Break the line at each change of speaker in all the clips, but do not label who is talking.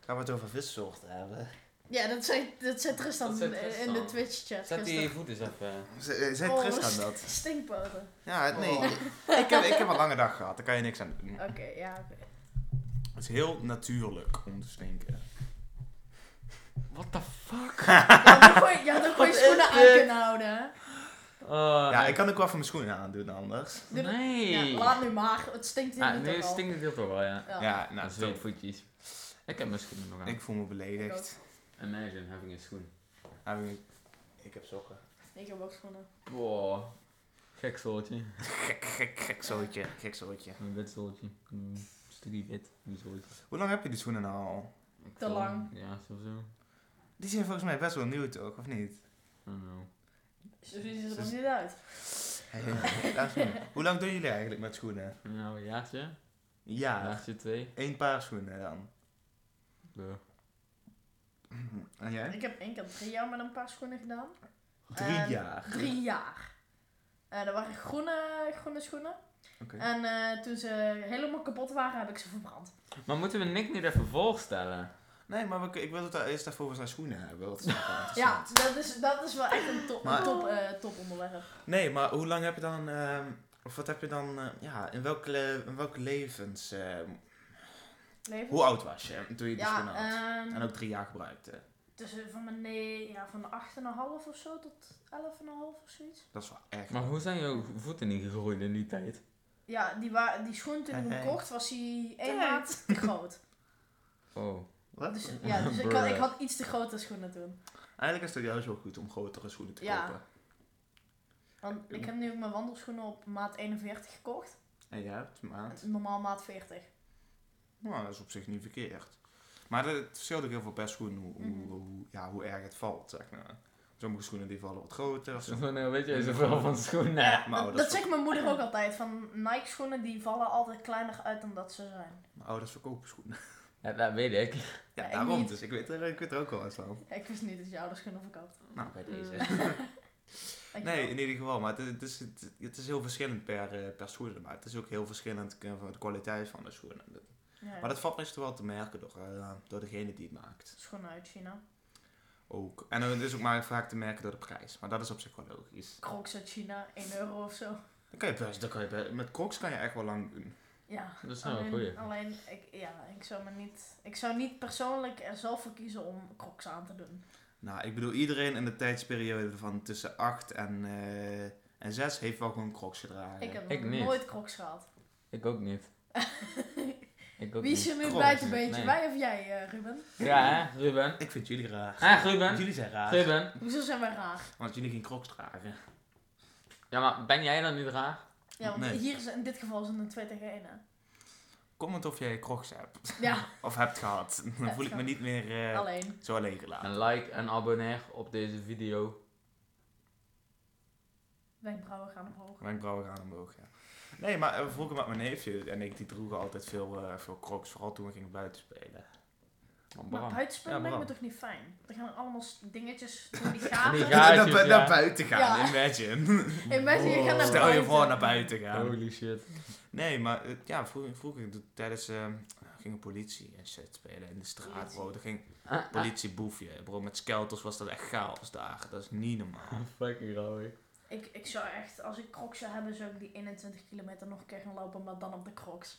Gaan we het over vissoorten hebben?
Ja, dat zei, dat zei Tristan,
Dat zei
in- in
Tristan.
de Twitch-chat
Zet
gisteren.
die voet eens eh. even.
Z- eh, Zei
Oh,
Tristan
st-
dat?
Stinkpoten.
Ja, nee.
Oh.
Ik, heb, ik heb een lange dag gehad, daar kan je niks aan doen.
Oké, ja, oké.
Het is heel natuurlijk om te stinken.
What the fuck?
Je had ook gewoon- Je had ook gewoon je
Wat
schoenen
is
aan
dit?
kunnen houden. hè?
Oh,
Ja,
nee.
ik kan ook wel van mijn schoenen aandoen anders.
Doe-
Nee.
Ja, laat nu maar. Het stinkt hier
Ah,
niet
nu
toch al.
stinkt het heel toch wel, ja.
Ja.
Ja,
Nou,
nou,
dat zijn
zo.
voetjes. Ik heb mijn schoenen nog aan.
Ik voel me beledigd.
Imagine having a schoen.
Heb ik, ik heb sokken.
Ik heb ook schoenen.
Wow. Gek zooltje.
Gek, gek, gek zootje. Gek zootje.
Een wit zooltje. Een stukje wit. Een zooltje.
Hoe lang heb je die schoenen nou al?
Ik
Te
wil-
lang.
Ja, sowieso.
Die zijn volgens mij best wel nieuw toch, of niet?
I don't know.
Zo ziet het Dus er nog niet uit.
Hey, laat eens zien. Hoe lang doen jullie eigenlijk met schoenen?
Nou, een jaartje.
Ja,
Jaartje twee.
één paar schoenen dan.
Duh.
En jij?
Ik heb één keer drie jaar met een paar schoenen gedaan.
Drie
En
jaar.
Drie jaar. Eh dat waren groene, groene schoenen.
Oké.
En eh, toen ze helemaal kapot waren, heb ik ze verbrand.
Maar moeten we Nick niet even voorstellen?
Nee, maar we- ik wil het daar eerst even over zijn schoenen hebben. Dat is wel interessant.
Ja, dat is, dat is wel echt een top,
Maar-
top, eh, top onderwerp.
Nee, maar hoe lang heb je dan... ehm, of wat heb je dan... eh, ja, in welke, le- in welke levens... ehm,
Leven?
hoe oud was je toen je die
ja,
schoenen had?
ehm,
En ook drie jaar gebruikte.
tussen van mijn nee, ja, van 8,5 of zo tot 11,5 of zoiets.
Dat is wel echt...
Maar hoe zijn jouw voeten niet gegroeid in die tijd?
Ja, die, wa- die schoen toen ik hem
Hey.
kocht, was hij één
Hey.
maat te groot.
Oh.
Wat?
Dus, ja, dus ik, had, ik had iets te grote schoenen toen.
Eigenlijk is het juist wel goed om grotere schoenen te
Ja.
kopen.
Want ik heb nu ook mijn wandelschoenen op maat 41 gekocht.
En jij hebt maat.
Normaal maat 40.
Nou, dat is op zich niet verkeerd. Maar het verschilt ook heel veel per schoen hoe, hoe-
Mhm.
hoe, ja, hoe erg het valt, zeg maar. Sommige schoenen die vallen wat groter. sommige-
Zo, nou, weet jij zoveel van schoenen?
Ja,
maar
dat,
dat
dat
is
zegt mijn moeder ook altijd. Van Nike schoenen die vallen altijd kleiner uit dan dat ze zijn.
Mijn ouders verkopen schoenen.
Ja, dat weet ik.
Ja,
Ja, ik
daarom.
niet.
Dus ik weet, er, ik weet er ook wel wat van.
Ja, ik wist niet dat je ouders schoenen verkoopt.
Nou, bij
Mm.
deze.
Dankjewel.
Nee, in ieder geval. Maar het, het, is, het, het is heel verschillend per, eh, per schoenen. Maar het is ook heel verschillend eh, van de kwaliteit van de schoenen. Dat-
Ja,
Maar dat valt meestal wel te merken door, eh, door degene die het maakt.
Schoenen uit China.
Ook. En het is ook maar vaak te merken door de prijs. Maar dat is op zich wel logisch.
Crocs uit China, 1 euro of zo.
Dan kan je best, dan kan je best- met crocs kan je echt wel lang doen.
Ja.
Dat is nou een
alleen,
goeie.
alleen ik, ja, ik zou me niet, ik zou niet persoonlijk er zelf voor kiezen om Crocs aan te doen.
Nou, ik bedoel, iedereen in de tijdsperiode van tussen 8 en, eh en 6 heeft wel gewoon crocs gedragen.
Ik heb
Ik
nog
niet.
nooit Crocs gehad.
Ik ook niet. Ik ook
Wie is
niet.
er nu
Crocs,
bij een beetje?
nee.
Wij of jij, eh, Ruben?
Ja, hè, Ruben.
Ik vind jullie raar.
Ah, Ruben.
Jullie zijn raar.
Ruben.
Hoezo zijn wij raar?
Want jullie geen crocs dragen.
Ja, maar ben jij dan niet raar?
Ja, want
Nee.
hier is, in dit geval is het een 2 tegen 1, hè?
Comment of jij crocs hebt.
Ja,
Of hebt gehad. Dan
Hebt
voel ik me
gehad.
niet meer eh,
alleen.
zo alleen gelaten.
Een like en abonneer op deze video.
Wenkbrauwen gaan omhoog.
Mijn brouwen gaan omhoog, ja. Nee, maar eh, vroeger met mijn neefje en ik, die droegen altijd veel, eh, veel crocs. Vooral toen we gingen buiten spelen. Oh,
Van
Maar
Bram.
buitenspelen
Ja,
lijkt me
Bram.
toch niet fijn? Er gaan allemaal s- dingetjes door die
Die
gaten.
gaten. Ja,
naar,
dus
bu-
ja.
naar buiten gaan,
Ja.
imagine.
En mensen, je gaat naar
Stel je
buiten.
voor naar buiten gaan.
Holy shit.
Nee, maar eh, ja, vroeger, vroeger d- tijdens eh, ging de politie en shit spelen in de straat,
Politie.
bro. Er ging
Ah, ah,
politieboefje, bro. Met skelters was dat echt chaos daar. Dat is niet normaal.
Fucking rauw.
Ik, ik zou echt, als ik crocs zou hebben, zou ik die 21 kilometer nog een keer gaan lopen, maar dan op de crocs.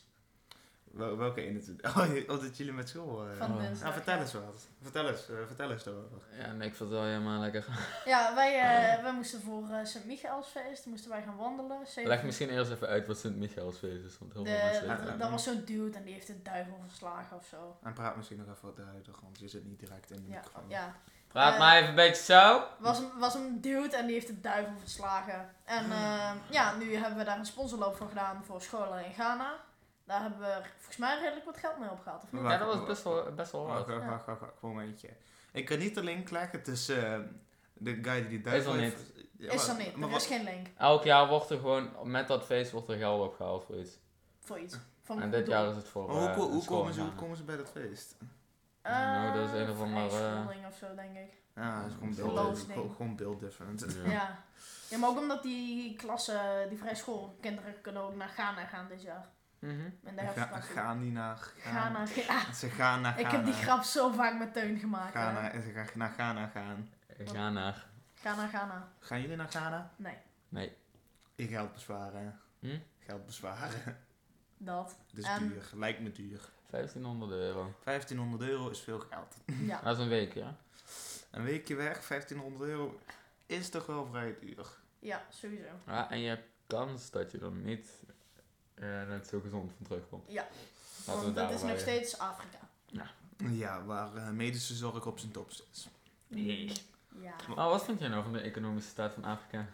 Wel- welke in het... Oh, je- oh, dat jullie met school... eh,
Van
Oh.
dinsdag,
Nou, vertel
ja.
eens wat. Vertel eens, eh, vertel eens daarover.
Ja, en ik vertel je maar lekker.
Ja, wij, eh, wij moesten voor eh Sint-Michaelsfeest moesten wij gaan wandelen. Zeven-
Leg misschien eerst even uit wat Sint-Michaelsfeest is, want heel
de,
veel mensen weten
Ja,
d- dat
het niet.
was zo'n dude en die heeft een duivel verslagen of zo.
En praat misschien nog even wat duidelijker, want je zit niet direct in de
Ja,
microfoon.
ja.
Praat
eh,
maar even een beetje zo.
Was, een- was een dude en die heeft de duivel verslagen.
Hmm.
En eh, ja, nu hebben we daar een sponsorloop voor gedaan voor scholen in Ghana. Daar hebben we er volgens mij redelijk wat geld mee op gehad, of niet?
Wacht,
Ja, dat was
wacht,
best wel, best wel
Oh, Wacht,
hard.
wacht,
Ja.
wacht, wacht, wacht, momentje. Ik kan niet de link leggen tussen eh, de guy die die duivel
er
heeft- Ja,
Is
maar-
er niet,
maar
er
wat-
is geen link
Elk jaar wordt er gewoon, met dat feest wordt er geld opgehaald voor iets.
voor iets. Van
En dit jaar is het voor
maar hoe,
eh,
ko- hoe,
school
komen ze, hoe
gaan.
komen ze bij dat feest?
Nou, dat is een of andere, eh,
vrijscholing Ehm, of zo, denk ik.
Ja, dat is gewoon beeld,
Verloofding.
gewoon- gewoon beeld different.
Ja.
Ja. ja, maar ook omdat die klassen, die vrij schoolkinderen kunnen ook naar Ghana gaan dit jaar.
Mhm.
In de
Ga,
herfstvakantie.
gaan die naar Ghana.
Ghana. Ja,
Ze gaan naar Ghana.
ik heb die grap zo vaak met Teun gemaakt. hè.
Ghana. En ze gaan naar Ghana gaan.
Ik ga naar.
Ghana, Ghana.
Gaan jullie naar Ghana?
Nee,
Nee.
Ik geld bezwaren.
Hm?
Geld bezwaren.
dat.
Het is
En-
duur. Lijkt me duur.
1500 euro.
1500 euro is veel geld.
Ja.
Dat is een week, ja?
Een weekje weg, 1500 euro is toch wel vrij duur.
Ja, sowieso.
ja en je hebt kans dat je dan niet eh, net zo gezond van terugkomt.
Ja.
Laten we
Want het
daar
is
wel
nog
bij-
steeds Afrika.
Ja, waar eh, medische zorg op zijn top is.
Nee.
Ja.
Maar wat vind jij nou van de economische staat van Afrika?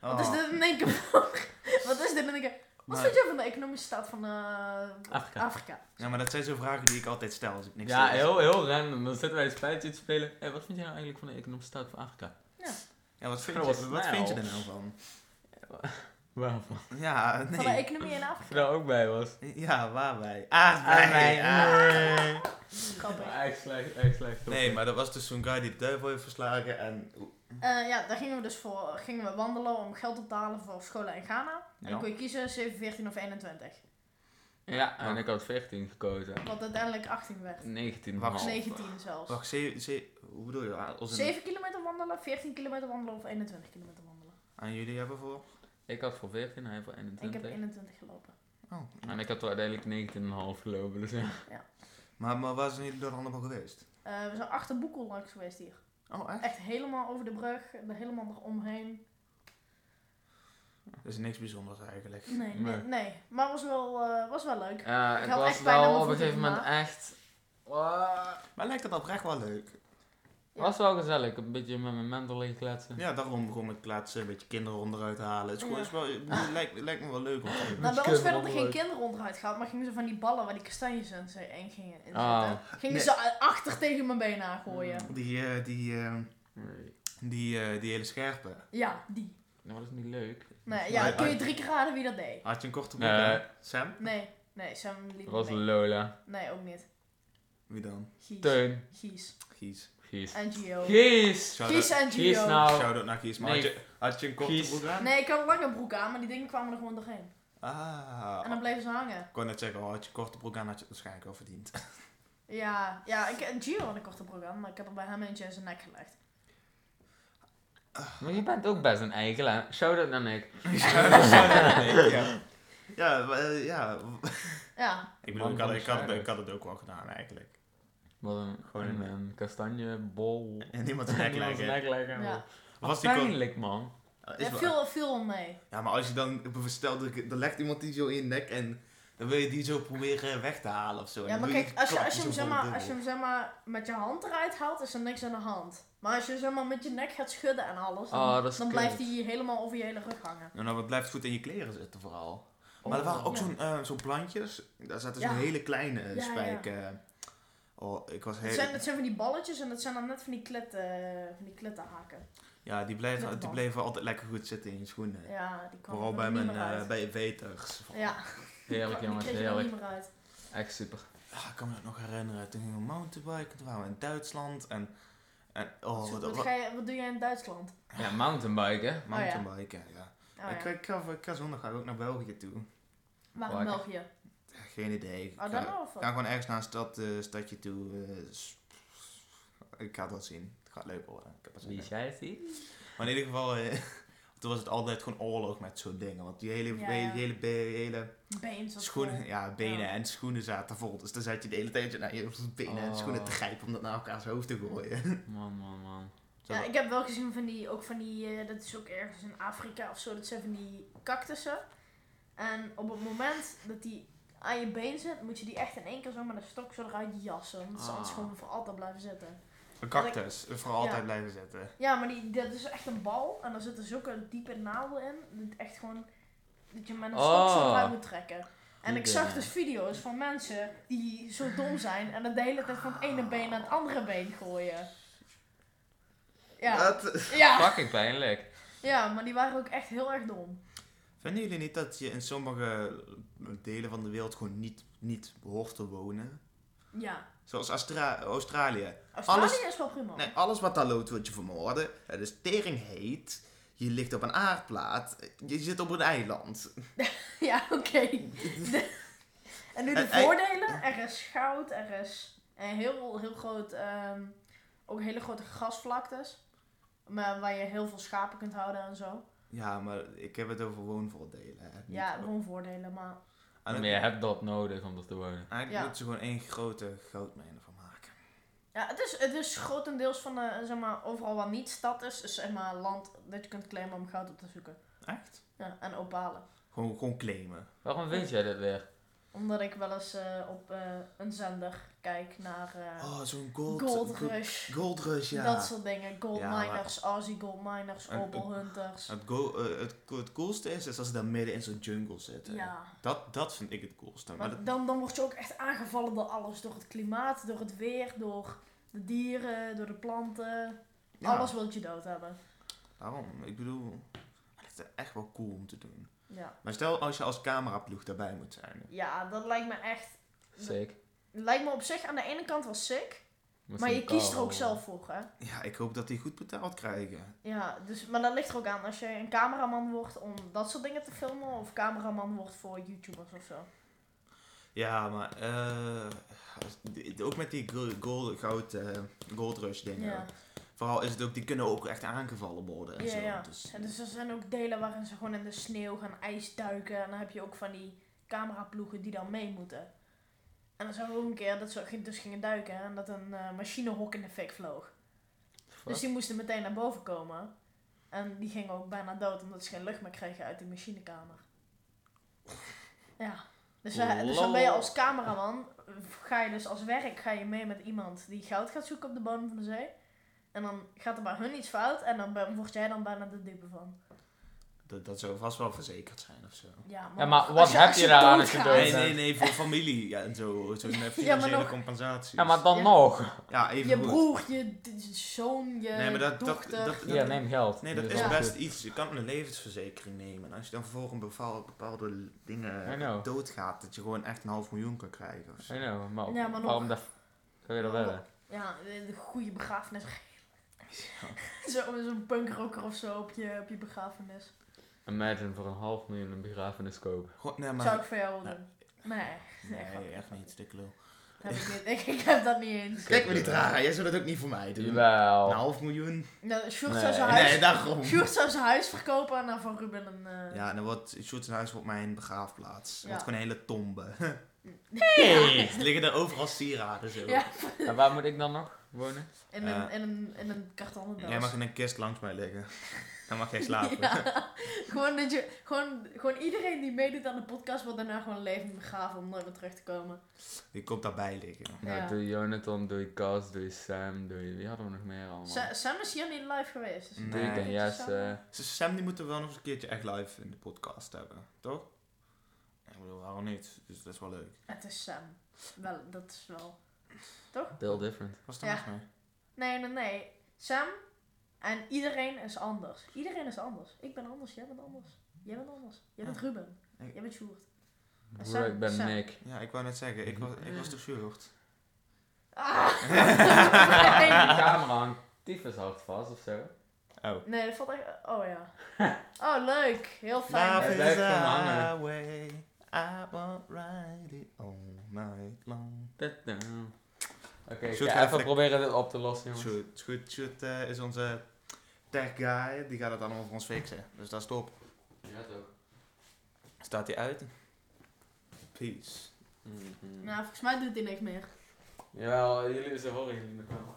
Wat is
Oh,
dit in één keer voor? Wat is dit in één keer? Wat
maar-
vind jij van de economische staat van eh,
Afrika.
Afrika?
Ja, maar dat zijn zo vragen die ik altijd stel als ik niks
ja,
weet.
heel, heel random. Dan zitten wij een spelletje te spelen. Hé, wat vind jij nou eigenlijk van de economische staat van Afrika?
Ja, wat vind,
Oh,
je,
wat
wat
snel.
vind je er nou van?
Waarvan?
Ja,
Van de
nee.
economie in
Ik
Afrika?
daar ook bij was.
Ja, waar wij? Ah, wij.
Ah.
Grappig.
Maar Echt slecht, echt slecht.
Nee, maar dat was dus zo'n guy die de duivel heeft verslagen en...
Eh, ja, daar gingen we dus voor gingen we wandelen om geld op te halen voor scholen in Ghana. En
Ja.
dan kon je kiezen 7, 14 of 21.
Ja, en ik had 14 gekozen.
Wat uiteindelijk 18 werd.
19
Wacht.
half.
19 zelfs.
Wacht, ze, ze, hoe bedoel je? dat? Als een,
7 kilometer wandelen, 14 kilometer wandelen of 21 kilometer wandelen.
aan jullie hebben voor?
Ik had voor 14, hij voor
Ik heb
21.
21 gelopen.
Oh.
En ik had er uiteindelijk 19,5 gelopen. Dus ja.
Maar, maar waar zijn jullie dan allemaal geweest?
Eh, we zijn achter Boekel langs geweest hier.
Oh, echt?
Echt helemaal over de brug, er helemaal eromheen.
Dat is niks bijzonders eigenlijk.
Nee, nee,
Nee.
nee. Maar was wel, eh, was wel leuk.
Ja,
Ik
ik
had
was
echt bijna
wel
mijn
op een
voeten
gegeven moment echt. Ah,
Maar lijkt het oprecht wel leuk.
was wel gezellig. Een beetje met mijn mentor liggen kletsen.
Ja, daarom begon ik kletsen, een beetje kinderen onderuit halen. Het is, gewoon-
Ja.
is wel, ik bedoel, lijkt, lijkt me wel leuk om te doen.
Nou, bij
kinderen
ons werden er
onderuit.
geen kinderen onderuit gehaald, maar gingen ze van die ballen waar die kastanjes in zijn- in gingen in
Ah.
zitten. Gingen
Nee.
ze a- achter tegen mijn benen aangooien.
Mm.
Die, eh, die, eh,
Nee.
die, eh, die hele scherpe.
Ja, die.
Nou, dat is niet leuk.
Nee, ja,
Maar-
kun je drie keer raden wie dat deed?
Had je een korte broek
Nee.
aan? Sam?
Nee, nee, Sam liep
Dat was
niet mee.
Lola.
Nee, ook niet.
Wie dan?
Gies.
Teun.
Gies.
Gies.
Gies.
En Gio.
Gies!
Shout-out-
Gies en
Gies
Gio.
nou.
Shout-out naar Gies. Maar
Nee.
had, je, had je een korte
Gies.
broek aan?
Nee, ik had een lange broek aan, maar die dingen kwamen er gewoon doorheen. En
Ah.
dan bleven ze hangen.
Ik kon net zeggen, oh, had je een korte broek aan, had je het waarschijnlijk al verdiend.
Ja, ja ik, en Gio had een korte broek aan, maar ik heb er bij hem eentje in zijn nek gelegd.
Maar je bent ook best een eikel, hè? Shout-out naar Nick.
Shout-out, shout-out, nee, ja. Ja, maar, eh, ja.
Ja,
Ik bedoel, ik
van
had,
de
ik, had,
shout-out.
ik had het ook wel gedaan eigenlijk.
Wat een,
Gewoon
Gewoon
een-
een, een kastanjebol.
En niemand zijn nek leggen.
ja.
Was die kon-
Pijnlijk, man.
is
ja
wel-
viel, viel wel mee.
Ja, maar als je dan bestelt, dan legt iemand die zo in je nek en dan wil je die zo proberen weg te halen of zo. En
Ja,
dan
maar
doe
kijk, als je,
klap
als je, hem,
zo
zeg
voor de
maar, als je hem zeg maar met je hand eruit haalt, is er niks aan de hand. Maar als je zeg maar met je nek gaat schudden en alles, dan,
Oh, dat is
dan blijft
kut.
hij helemaal over je hele rug hangen.
bubbel. En dan blijft nou, het goed in je kleren zitten vooral. maar er waren ook
ja.
zo'n eh, zo'n plantjes, daar zaten zo'n
Ja.
hele kleine eh,
Ja, ja.
spijken. Oh, ik was
Het zijn,
heel...
het zijn van die balletjes en dat zijn dan net van die, kletten, van die klittenhaken.
Ja, die
Met
bleven,
de
die
band.
bleven altijd lekker goed zitten in je schoenen.
Ja, die kwamen
Vooral
er
bij
niet
mijn
meer uit.
eh bij veters.
Ja,
Heerlijk,
die
jongens,
kreeg je er
heerlijk.
niet meer uit.
Echt super.
Ah, ik kan me dat nog herinneren. Toen gingen we mountainbiken, toen waren we in Duitsland en... en oh,
Zo,
wat,
wat,
wat,
ga je, wat doe jij in Duitsland?
Ja, mountainbiken.
mountainbiken, ja.
Oh,
Ik,
ja.
ik, ga, ik ga zondag ga ik ook naar België toe.
Waarom
Waar-
België?
Ja, Geen idee. Ik
Oh,
ga-
dan wel of
We
wat?
gaan gewoon ergens naar een stad, eh, stadje toe. eh, s- ik ga dat zien. Het gaat leuk worden. Ik heb er zin
Wie
in.
zei het die?
Maar in ieder geval, eh, toen was het altijd gewoon oorlog met zo'n dingen. Want die hele,
Ja,
be-
ja.
die hele, be- hele
Beens of eh,
schoenen,
zo.
ja, benen
Ja.
en schoenen zaten vol. Dus dan zat je de hele tijd naar je benen en
Oh.
schoenen te grijpen om dat naar elkaars hoofd te gooien.
Man, man, man.
Zo
Ja,
dat-
ik heb wel gezien van die, ook van die, eh, dat is ook ergens in Afrika of zo, dat zijn van die cactussen. En op het moment dat die aan je been zit, moet je die echt in één keer zo met een stok zo eruit jassen. Want ze anders
Ah.
gewoon voor altijd blijven zitten.
Een cactus, voor altijd
Ja.
blijven zitten.
Ja, maar die, dat is echt een bal en daar zitten zulke diepe naalden in. Dat echt gewoon, dat je met een stok zo
Oh.
eruit moet trekken. En ik
Goed,
zag
ja.
dus video's van mensen die zo dom zijn en dat de hele tijd van het ene been naar het andere been gooien. Ja.
Dat-
Ja.
Fucking pijnlijk.
Ah,
Ja, maar die waren ook echt heel erg dom.
vinden jullie niet dat je in sommige delen van de wereld gewoon niet, niet behoort te wonen?
Ja.
Zoals Astra- Australië.
Australië
Alles-
is wel prima.
Nee, alles wat daar loopt wordt je vermoorden. Het is tering heet. Je ligt op een aardplaat. Je zit op een eiland.
Ja, oké. En nu de
Eh, eh.
voordelen. Er is goud, er is een heel, heel groot, ehm, ook hele grote grasvlaktes. Maar waar je heel veel schapen kunt houden en zo.
Ja, maar ik heb het over woonvoordelen. hè, niet
Ja,
over-
gewoon voordelen, maar...
En
Maar
dan-
je hebt dat nodig om er te wonen.
Eigenlijk
Ja.
moeten ze gewoon één grote goudmijn van maken.
Ja, het is, het is grotendeels van, eh, zeg maar, overal waar niet stad is, is zeg maar land dat je kunt claimen om goud op te zoeken.
Echt?
Ja, en opalen.
Gewoon, gewoon claimen.
Waarom weet jij dit weer?
Omdat ik wel eens eh, op eh, een zender kijk naar eh,
Oh, zo'n gold,
Gold,
go-
Rush.
gold rush, ja.
Dat soort dingen. Gold
Ja, maar-
miners, Aussie gold miners,
En-
opal hunters.
Het, go- eh, het, co- het coolste is, is als ze daar midden in zo'n jungle zitten.
Ja.
Dat, dat vind ik het coolste. Maar dat,
Want dan, dan word je ook echt aangevallen door alles. Door het klimaat, door het weer, door de dieren, door de planten.
ja,
Alles wil je dood hebben.
Daarom, ik bedoel, het is echt wel cool om te doen.
Ja.
Maar stel als je als cameraploeg daarbij moet zijn.
ja, dat lijkt me echt...
Sick.
Lijkt me op zich aan de ene kant wel sick.
Met
Maar
zo'n
je kiest er
karel.
ook zelf voor, hè?
Ja, ik hoop dat die goed betaald krijgen.
Ja, dus, maar dat ligt er ook aan. Als je een cameraman wordt om dat soort dingen te filmen, of cameraman wordt voor YouTubers of zo.
Ja, maar eh, als- ook met die go- gold, goud, eh, gold rush dingen.
Ja.
Vooral is het ook, die kunnen ook echt aangevallen worden en
Ja,
zo.
ja.
Dus,
En dus er zijn ook delen waarin ze gewoon in de sneeuw gaan ijsduiken. En dan heb je ook van die cameraploegen die dan mee moeten. En dan zag ik ook een keer dat ze ook dus gingen duiken hè, en dat een eh, machinehok in de fik vloog. Dus
Fuck.
die moesten meteen naar boven komen. En die gingen ook bijna dood omdat ze geen lucht meer kregen uit die machinekamer. Ja. Dus, eh, dus dan ben je als cameraman, eh, ga je dus als werk ga je mee met iemand die goud gaat zoeken op de bodem van de zee. En dan gaat er bij hun iets fout en dan ben- word jij dan bijna de dupe van.
dat, dat zou vast wel verzekerd zijn of zo.
Ja,
Ja, maar
als
wat
je-
heb
als
je daaraan als je
doodgaat-
dood
Nee,
bent?
nee, nee, voor familie ja, en zo. Zo'n eh, financiële
nog-
compensatie.
Ja, maar dan
Ja.
nog.
Ja, even
Je
goed.
broer, je d- zoon, je
Nee, maar dat- dat-
dochter.
dat-
Ja, neem geld.
Nee, dat
Nu
is
Ja.
best iets. Je kan een levensverzekering nemen. En als je dan vervolgens bepaalde, bepaalde
I
dingen
know.
doodgaat, dat je gewoon echt een half miljoen kan krijgen. Of zo.
I know, maar,
Ja, maar nog.
waarom dat... Zou je dat
Ja,
willen?
Ja, een goede begrafenis. Zo- Zo'n punkrocker of zo op je, op je begrafenis.
Imagine voor een half miljoen een begrafenis kopen.
Goh, nee,
Zou ik
maar. Nou,
voor jou wel doen? Nee,
Nee,
grapje,
echt
grapje.
niet, dikke lul.
Heb ik, niet. Ik, ik heb dat niet eens.
Kijk me niet raar, aan, jij zou dat ook niet voor mij doen.
Jawel.
Een half miljoen?
Nou, Sjoerd
Nee.
zou zijn huis,
Nee, daarom.
Sjoerd zou zijn huis verkopen en dan van Ruben een... eh,
Ja, dan wordt Sjoerd zijn huis wordt mijn begraafplaats.
Ja.
Wordt gewoon een hele tombe.
Hey!
Er liggen er overal sieraden zo.
Ja.
En waar moet ik dan nog wonen?
in, een, in, een, in een kartonnen doos.
Jij mag in een kist langs mij liggen. Dan mag jij slapen.
Ja. gewoon, dat je, gewoon, gewoon iedereen die meedoet aan de podcast wordt daarna gewoon levend begraven om nooit meer terug te komen.
Die komt daarbij liggen.
Nou,
Ja.
doe Jonathan, doe Cas, doe Sam, doe... Wie hadden we nog meer allemaal?
Sa- Sam is hier niet live geweest. Dus
Nee.
Doe ik en Jesse.
Dus Sam die moeten we wel nog eens een keertje echt live in de podcast hebben, toch? Ja, Ik bedoel, waarom niet? Dus dat is wel leuk.
Het is Sam. Wel, dat is wel...
Bill Different.
Was dat
Ja.
mis mee?
Nee, nee, nee. Sam en iedereen is anders. Iedereen is anders. Ik ben anders, jij bent anders. Jij bent anders. Jij bent
Ja.
Ruben.
Ik-
Jij bent Sjoerd.
Broer,
Sam-
ik ben
Sam.
Nick.
Ja, ik wou net zeggen, ik was, ik was toch Sjoerd?
Ah.
Die
nee.
camera hangt tyfus hard vast of zo.
Oh.
nee, dat valt echt... Oh ja. Oh, leuk. Heel fijn.
Love
Hij
is
blijft gewoon
a
hangen.
highway, I won't ride it all night long.
Da-da. Oké, ik
Shoot,
ga even
even-
proberen dit op te lossen, jongens.
Sjoerd, Sjoerd, Sjoerd eh, is onze tech guy, die gaat het allemaal voor ons fixen. Dus dat is top.
Ja, toch?
Staat hij uit? Peace.
Mhm.
Nou, volgens mij doet hij niks meer.
Jawel, jullie, ze horen jullie nog wel.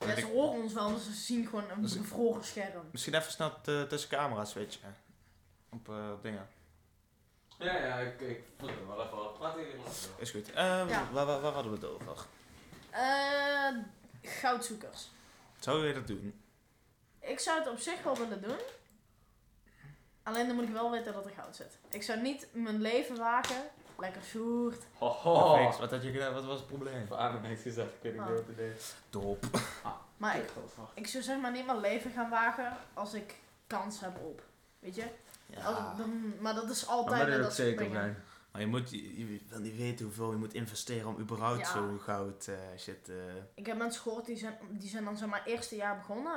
Ja,
Weet
ze
ik-
horen ons wel, maar ze zien gewoon een
Dus ik-
bevroren scherm.
Misschien even snel eh, tussen camera's switchen. Op eh, op dingen.
Ja, ja, ik, ik voel het wel even af. Laten jullie maar
Is goed. Eh,
Ja.
waar, waar, waar hadden we het over?
Eh, goudzoekers.
Zou je dat doen?
Ik zou het op zich wel willen doen. Alleen dan moet ik wel weten dat er goud zit. Ik zou niet mijn leven waken. Lekker zoert.
Perfect.
Hoho!
Oh, Wat had je gedaan? Wat was het probleem?
Even aan de mensen gezegd, ik weet niet
Ah.
wat het is.
Top.
Maar ik, ik zou zeg maar niet mijn leven gaan wagen als ik kans heb op. Weet je? Als ik dan, maar dat is altijd met dat soort dingen.
Maar je moet je, je wil niet weten hoeveel je moet investeren om überhaupt
Ja.
zo'n goud eh, shit. eh,
Ik heb mensen gehoord die zijn, die zijn dan zeg maar eerste jaar begonnen.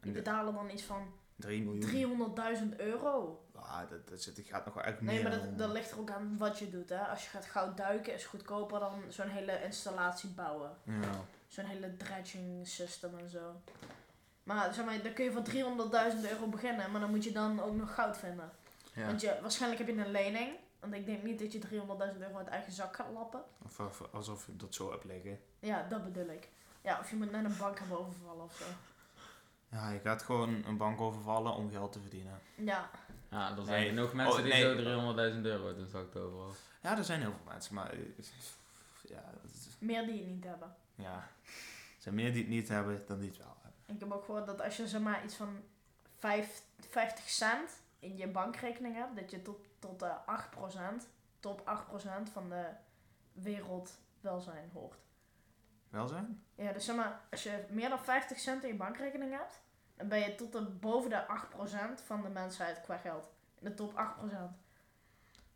Die
en de-
betalen dan iets van
3 miljoen.
300.000 euro.
Ah, dat, dat zit, gaat nog wel echt
Nee,
meer
maar
om.
dat, dat ligt er ook aan wat je doet. Hè. Als je gaat goud duiken, is goedkoper dan zo'n hele installatie bouwen.
Ja.
Zo'n hele dredging system en zo. Maar zeg maar, dan kun je voor 300.000 euro beginnen, maar dan moet je dan ook nog goud vinden.
Ja.
Want je, waarschijnlijk heb je een lening. Want ik denk niet dat je 300.000 euro uit eigen zak gaat lappen.
Of- of- alsof je dat zo hebt liggen.
Ja, dat bedoel ik. Ja, of je moet net een bank hebben overvallen of zo.
Ja, je gaat gewoon een bank overvallen om geld te verdienen.
Ja,
ja, er zijn
Nee.
genoeg mensen
Oh,
die
nee.
zo 300.000 euro uit hun zak overal.
Ja, er zijn heel veel mensen, maar... eh, Ja, dat is-
meer die het niet hebben.
ja. Er zijn meer die het niet hebben dan die het wel hebben.
Ik heb ook gehoord dat als je zeg maar iets van vijf- 50 cent in je bankrekening hebt, dat je tot, tot eh 8%, top 8% van de wereldwelzijn hoort.
Welzijn?
Ja, dus zeg maar, als je meer dan 50 cent in je bankrekening hebt, dan ben je tot de, boven de 8% van de mensheid qua geld. In de top 8%.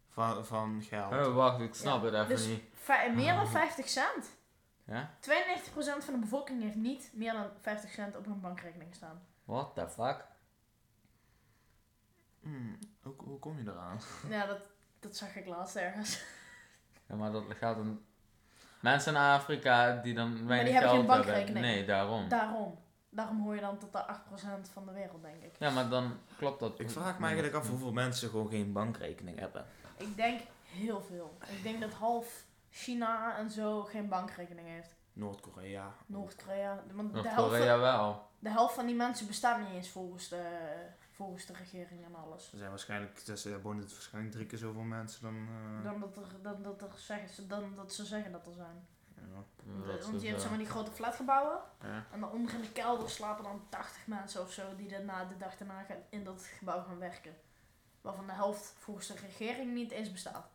Van, van geld.
Oh, wacht, ik snap het even
Dus
niet.
Fi- meer dan 50 cent.
Ja?
92% van de bevolking heeft niet meer dan 50 cent op hun bankrekening staan.
What the fuck?
Hmm, hoe, hoe kom je eraan?
Ja, dat, dat zag ik laatst ergens.
Ja, maar dat gaat dan... Mensen in Afrika die dan weinig
hebben geen
geld hebben.
bankrekening.
Nee, daarom.
Daarom. Daarom hoor je dan tot de 8% van de wereld, denk ik.
ja, maar dan klopt dat.
Ik vraag me eigenlijk af hoeveel mensen gewoon geen bankrekening hebben.
Ik denk heel veel. Ik denk dat half China en zo geen bankrekening heeft.
Noord-Korea.
Noord-Korea. Want de helft, van,
Noord-Korea wel.
de helft van die mensen bestaat niet eens volgens de, volgens de regering en alles.
Er zijn waarschijnlijk, dus, er wonen het waarschijnlijk drie keer zoveel mensen dan... eh,
Dan dat, er, dan, dat er zeggen, ze- dan dat ze zeggen dat er zijn.
ja.
Dat
Want
is,
je hebt
eh,
zeg maar die grote flatgebouwen.
ja.
En daaronder in de kelder slapen dan 80 mensen of zo die daarna de dag daarna gaan- in dat gebouw gaan werken. Waarvan de helft volgens de regering niet eens bestaat.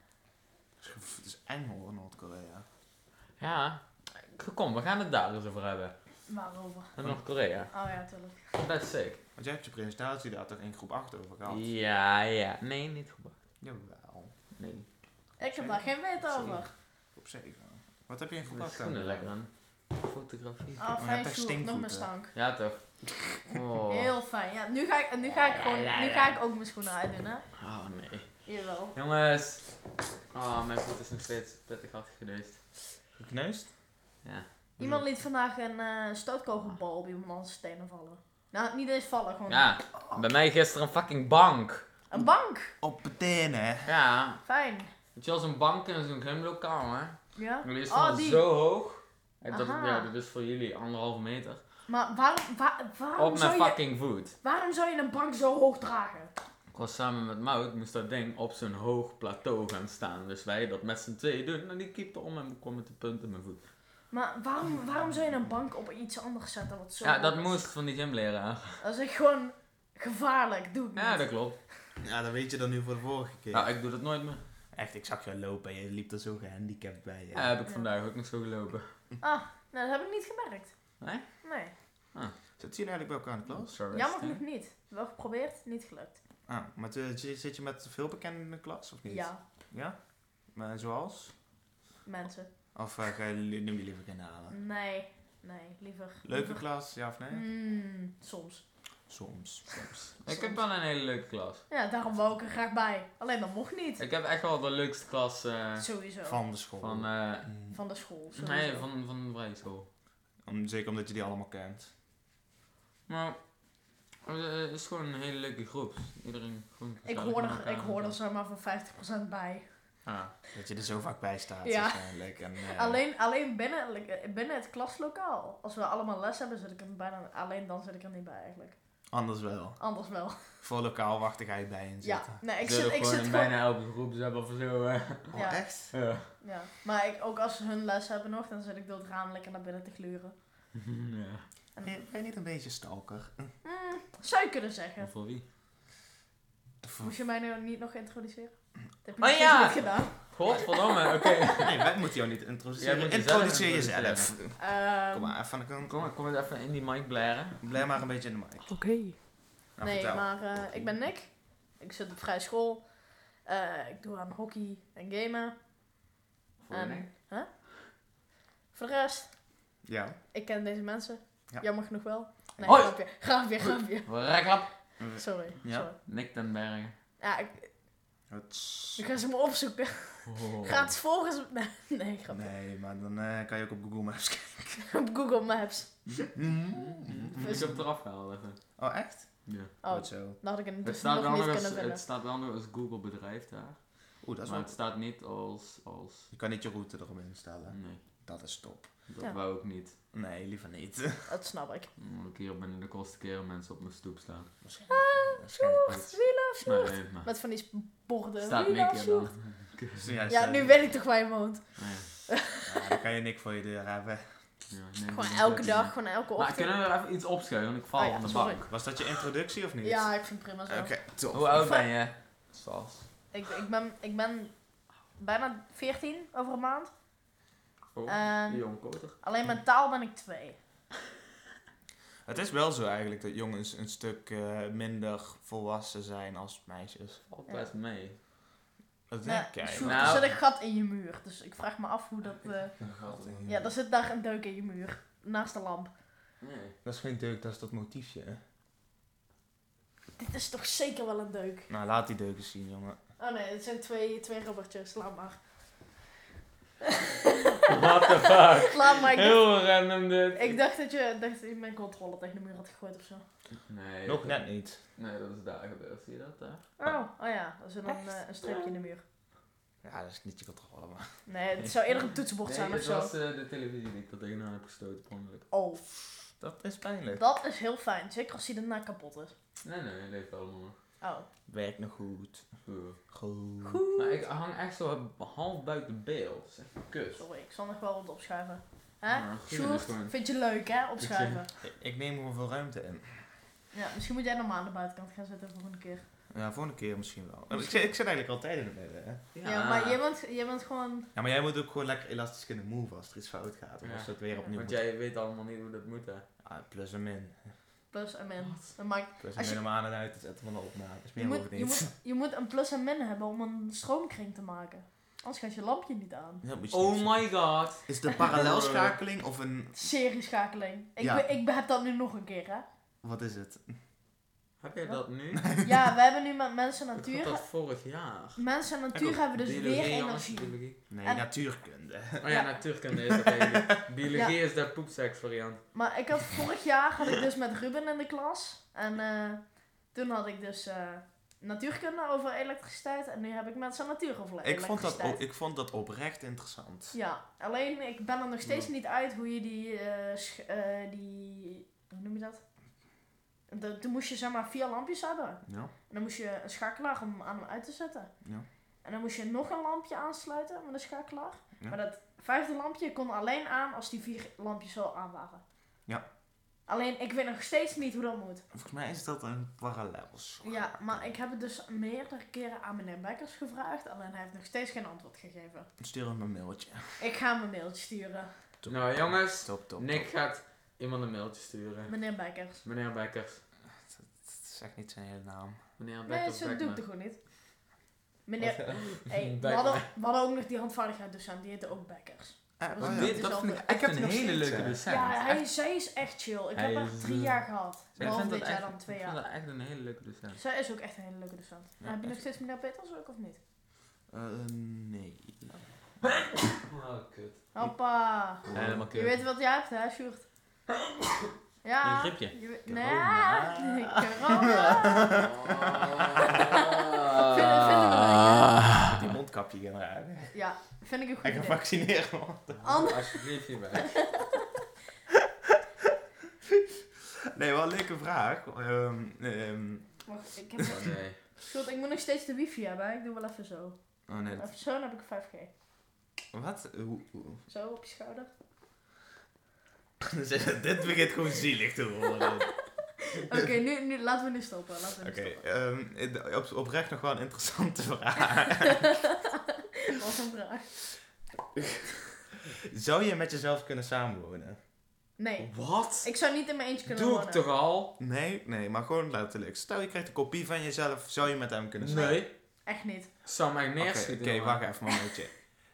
Het is- Het is eng hoor, Noord-Korea.
Ja. Kom, we gaan het daar eens over hebben.
Waarover?
En Noord-Korea.
Oh ja, tuurlijk.
Best sick.
Want jij hebt je presentatie daar toch in groep 8 over gehad?
Ja, ja. Nee, niet goed.
Jawel.
Nee.
Ik heb daar geen weet over.
Op 7. Wat heb je in groep
Dat
8
is gewoon lekker aan. Fotografie.
Ah,
je
fijn
hebt echt
Sjoerd, nog
stinkvoeten.
mijn stank.
Ja, toch? Oh.
Heel fijn. Ja, nu ga ik, en nu ga ik, gewoon, nu ga ik ook mijn schoenen uitdoen, hè.
oh, nee.
Jawel.
Jongens. Oh, mijn voet is nog steeds prettig hard geneust.
Gekneusd?
Ja.
Iemand liet vandaag een eh, stootkogelbal op iemand anders stenen vallen. Nou, niet eens vallen, gewoon
Ja, bij mij gisteren een fucking bank.
een bank.
Op meteen hè.
Ja.
Fijn.
Weet je wel, zo'n bank in zo'n gymlokaal, hè?
Ja.
Die is
Oh,
dan
die.
zo hoog. En dat,
Aha.
ja, dat is voor jullie anderhalve meter.
Maar waarom, wa- waarom,
Op mijn
zou je,
fucking voet.
waarom zou je een bank zo hoog dragen?
Ik was samen met Mout, moest dat ding op zo'n hoog plateau gaan staan. Dus wij dat met z'n tweeën doen. En die keepte om en kwam met de punt in mijn voet.
Maar waarom, waarom zou je een bank op iets anders zetten wat zo
Ja,
hoog
dat
is?
moest van die gymleraar.
Dat is echt gewoon gevaarlijk. Doe ik niet.
Ja, dat klopt.
Ja, dat weet je dan nu voor de vorige keer.
Nou, ik doe dat nooit meer.
Echt, ik zag jou lopen en je liep er zo gehandicapt bij. hè.
Ja, heb ik
Ja.
vandaag ook nog zo gelopen.
Ah, nou, dat heb ik niet gemerkt.
Nee?
Nee.
Zit je eigenlijk bij elkaar in de klas?
Oh, Sorry.
Jammer genoeg niet. Wel geprobeerd, niet gelukt.
Ah, maar eh, zit zit je met veel bekenden in de klas of niet?
Ja,
Ja? Maar zoals?
mensen.
Of eh, ga je, noem je liever geen namen?
Nee, nee, liever.
Leuke
liever-
klas, ja of nee?
Mm, soms.
Soms. Soms.
Ik heb wel een hele leuke klas.
Ja, daarom wou ik er graag bij. Alleen dat mocht niet.
Ik heb echt wel de leukste klas eh,
Sowieso. Van,
Van de school.
van, eh,
Mm.
de school. Sowieso.
nee, van, van de vrije school.
Om, zeker omdat je die allemaal kent.
Maar eh, het is gewoon een hele leuke groep. Iedereen gewoon
Ik
gezellig
hoor
met
er,
elkaar
ik hoor er
en zo.
zeg maar van 50% bij.
Ja.
Dat je er zo vaak bij staat
Ja.
waarschijnlijk. En, eh,
Alleen, alleen binnen, binnen het klaslokaal. Als we allemaal les hebben, zit ik er bijna. Alleen dan zit ik er niet bij eigenlijk.
Anders wel.
Anders wel.
Voor lokaal wachten ga je bij in zitten.
Ja, nee, ik
Zullen
zit, ik
gewoon
zit
in
gewoon.
bijna elke groep hebben of zo. eh.
Oh,
Ja.
echt?
Ja.
Ja. Maar ik, ook als ze hun les hebben nog, dan zit ik door het raam lekker naar binnen te gluren.
ja.
En-
Ben je- ben je niet een beetje stalker?
Mm, zou je kunnen zeggen.
Of Voor wie?
Moest je mij nou niet nog introduceren? Dat heb je
Oh
nog
ja!
niet gedaan.
Godverdomme, oké.
Nee, wij moeten jou niet
Jij
introduceren.
moet jezelf
Introduceer
introduceren.
jezelf.
Ehm,
Kom maar, even een kom
Kom,
maar.
ik kom eens even in die mic blaren.
Blijf maar een beetje in de mic. Nou, Oké.
Nou,
nee, maar eh, ik ben Nick. Ik zit op vrij school. Eh, ik doe aan hockey en gamen.
Voor
En-
wie?
Voor de rest,
Ja.
ik ken deze mensen.
Ja.
Jammer genoeg wel. Nee,
Hoi!
grapje, grapje, grapje.
Rekklap.
Sorry. sorry.
Ja, Nick den Bergen.
Ja, ik,
Het-
ik ga ze maar opzoeken.
Oh.
Gaat volgens... Nee, nee grap.
Nee, maar dan eh, kan je ook op Google Maps kijken.
Op Google Maps.
Mhm.
Mm, Ik heb het eraf gehaald even.
Oh, echt?
Ja.
Mhm. Oh,
Goed zo.
dan had ik het
Het,
dus
staat
nog
wel
niet
nog
kunnen
als,
vinden.
het staat wel nog als Google bedrijf daar.
Oeh, dat is
maar
wel...
het staat niet als... als
Je kan niet je route eromheen
Mhm.
stellen.
nee,
Dat is top.
dat
Ja.
wou ik niet.
Nee, liever niet.
Dat snap ik.
Omdat ik hier binnen de kosten keren mensen op mijn stoep staan.
Waarschijnlijk
Ah, Sjoerd,
niet.
Wielen,
Maar
Sjoerd.
nee, maar.
Met van die sp- borden.
Staat
Wielen,
Nick er dan.
Sjoerd.
Ja,
Ja, nu weet ik toch waar je woont.
Nee,
eh, Ja, dan kan je niks voor je deur hebben.
ja, nee, dat
Gewoon
is
elke
leuk.
dag, gewoon elke
Maar
ochtend.
kunnen we er even iets opschuiven? Want ik val
Oh ja,
van de
sorry.
bank.
Was dat je introductie of niet?
Ja, ik vind het prima zo.
Oké, top.
Hoe oud ben je? Sas.
Ik, ik, ben, ik ben bijna 14 over een maand.
Oh,
Ehm.
jong koter.
Alleen mentaal ben ik 2.
Het is wel zo eigenlijk dat jongens een stuk eh, minder volwassen zijn als meisjes.
Valt
Ja.
best mee.
Dat
Nou,
denk jij.
Sjoerd,
maar-
er
Nou.
zit een gat in je muur. Dus ik vraag me af hoe dat... eh, ja, er zit daar een deuk in je muur. Naast de lamp.
Nee.
Dat is geen deuk, dat is dat motiefje.
Dit is toch zeker wel een deuk?
Nou, laat die deuk eens zien, jongen.
Oh nee, het zijn twee, twee rubbertjes. Laat maar.
What the fuck?
Laat maar. Ik dacht,
Heel random dit.
ik dacht dat je dacht dat je mijn controle tegen de muur had gegooid of zo.
Nee.
Nog
dat-
net niet.
Nee, dat is daar gebeurd. Zie je dat daar?
Oh, oh ja. Er zit een,
Echt?
eh, een streepje in de muur.
Ja, dat is niet je controle, maar...
Nee, het zou eerder een toetsenbord
Nee,
zijn of
het
zo.
was eh, de televisie die ik er tegenaan heb gestoten, per ongeluk.
Oh,
Dat is pijnlijk.
dat is heel fijn. Zeker als hij daarna kapot is.
Nee, nee, het leeft allemaal nog.
Oh.
Werkt nog goed.
Oeh.
Goed.
Maar ik hang echt zo half buiten beeld. Zeg, kus.
Sorry, ik zal nog wel wat opschuiven. Hè?
Maar goed,
Sjoerd,
dus gewoon-
vind je leuk hè, opschuiven?
Ik- Ik neem gewoon veel ruimte in.
Ja, misschien moet jij normaal aan de buitenkant gaan zitten de volgende keer.
Ja, volgende keer misschien wel. Ik, zit- ik zit eigenlijk altijd in het midden, hè.
Ja, maar jij bent, jij bent gewoon...
Ja, maar jij moet ook gewoon lekker elastisch kunnen move als er iets fout gaat. Of
Ja.
als het weer opnieuw
Want
moet.
jij weet allemaal niet hoe dat moet, hè?
Ah, plus en min.
Plus en min. Dan maakt-
Plus en
Als je-
min om aan en uit te zetten van de opname. Dat is
Je,
meer
moet,
over
je,
niet.
moet, je moet een plus en min hebben om een stroomkring te maken. Anders gaat je lampje niet aan.
Ja, moet je niet
Oh
zeggen.
my god!
Is het een parallelschakeling of een...
Serieschakeling. Ik,
Ja.
be- ik heb dat nu nog een keer hè.
Wat is het?
Heb jij dat nu?
Ja, we hebben nu met mensen en
Ik
natuur...
had dat vorig jaar.
Mensen en natuur
ook.
hebben dus
Biologie,
weer
jongens,
energie.
biologie.
Nee,
En-
natuurkunde.
Oh ja, natuurkunde is dat eigenlijk. Biologie is daar poepseks variant.
Maar ik had vorig jaar had ik dus met Ruben in de klas. En eh, toen had ik dus eh, natuurkunde over elektriciteit. En nu heb ik met zijn natuur over
Ik
elektriciteit.
vond, dat o- ik vond dat oprecht interessant.
Ja, alleen ik ben er nog steeds
Ja.
niet uit hoe je die... eh, sch- eh, die hoe noem je dat? De- toen moest je zeg maar vier lampjes hebben. En
Ja.
dan moest je een schakelaar om aan hem uit te zetten.
Ja.
En dan moest je nog een lampje aansluiten met een schakelaar.
Ja.
Maar dat vijfde lampje kon alleen aan als die vier lampjes al aan waren.
Ja.
Alleen ik weet nog steeds niet hoe dat moet.
Volgens mij is dat een parallels.
Ja, maar ik heb het dus meerdere keren aan meneer Bekkers gevraagd. Alleen hij heeft nog steeds geen antwoord gegeven.
Stuur hem een mailtje.
Ik ga hem een mailtje sturen.
Top.
Nou jongens,
Top, top.
Nick
top.
gaat iemand een mailtje sturen.
Meneer Bekkers.
Meneer Bekkers.
Het is echt niet zijn hele naam.
Meneer
Nee,
Bekkers.
zo doe ik
Beckman.
toch gewoon niet. Meneer... Hey, we,
Beckman.
hadden, we hadden ook nog die dus handvaardigheidsdocent. Die heette ook Bekkers.
Ah,
Oh,
Want
ja.
dit,
is
dat
al
vind ik
goed.
Ik heb
echt
die
een
nog
hele
steeds, eh,
leuke
hè.
docent.
Ja,
Echt-
hij, zij is echt chill. Ik
Hij
heb haar
is,
drie
eh,
jaar gehad.
ik
Behalve
vind
dit
dat
jaar
echt,
dan twee
ik vind
jaar.
dat echt een hele leuke docent.
Zij is ook echt een hele leuke docent.
Ja,
heb je nog
echt.
steeds meneer Peters ook of niet?
Eh, nee.
Oh, kut.
Hoppa.
Helemaal
Je
kut.
weet wat jij hebt hè, Sjoerd? Ja.
Een griepje.
Je weet-
Corona.
Nee,
Oh.
corona.
Ah.
Vinden- vinden we
Met die mondkapje gaan raken.
Ja, vind ik een goed
En
idee.
gevaccineerd worden.
Ander-
Alsjeblieft hierbij.
Nee, wel een leuke vraag. Ehm, ehm,
Wacht, ik heb
Oh, nee.
Sjoerd, ik moet nog steeds de wifi hebben. hè. Ik doe wel even zo.
oh nee. dat-
Even zo, dan heb ik 5G.
Wat? Hoe- hoe-
Zo, op je schouder.
Dit begint gewoon zielig te worden.
Oké, nu, nu, laten we nu stoppen. Laten we nu
Oké,
stoppen.
ehm, op, oprecht nog wel een interessante vraag.
Wat een vraag.
Zou je met jezelf kunnen samenwonen?
Nee,
Wat?
ik zou niet in mijn eentje kunnen
Doe ik
wonen.
toch al?
Nee, nee, maar gewoon letterlijk. Stel je krijgt een kopie van jezelf, zou je met hem kunnen samenwonen?
Nee.
Echt niet.
Zou mij
Oké,
neerschieten.
oké,
jongen.
wacht even een momentje.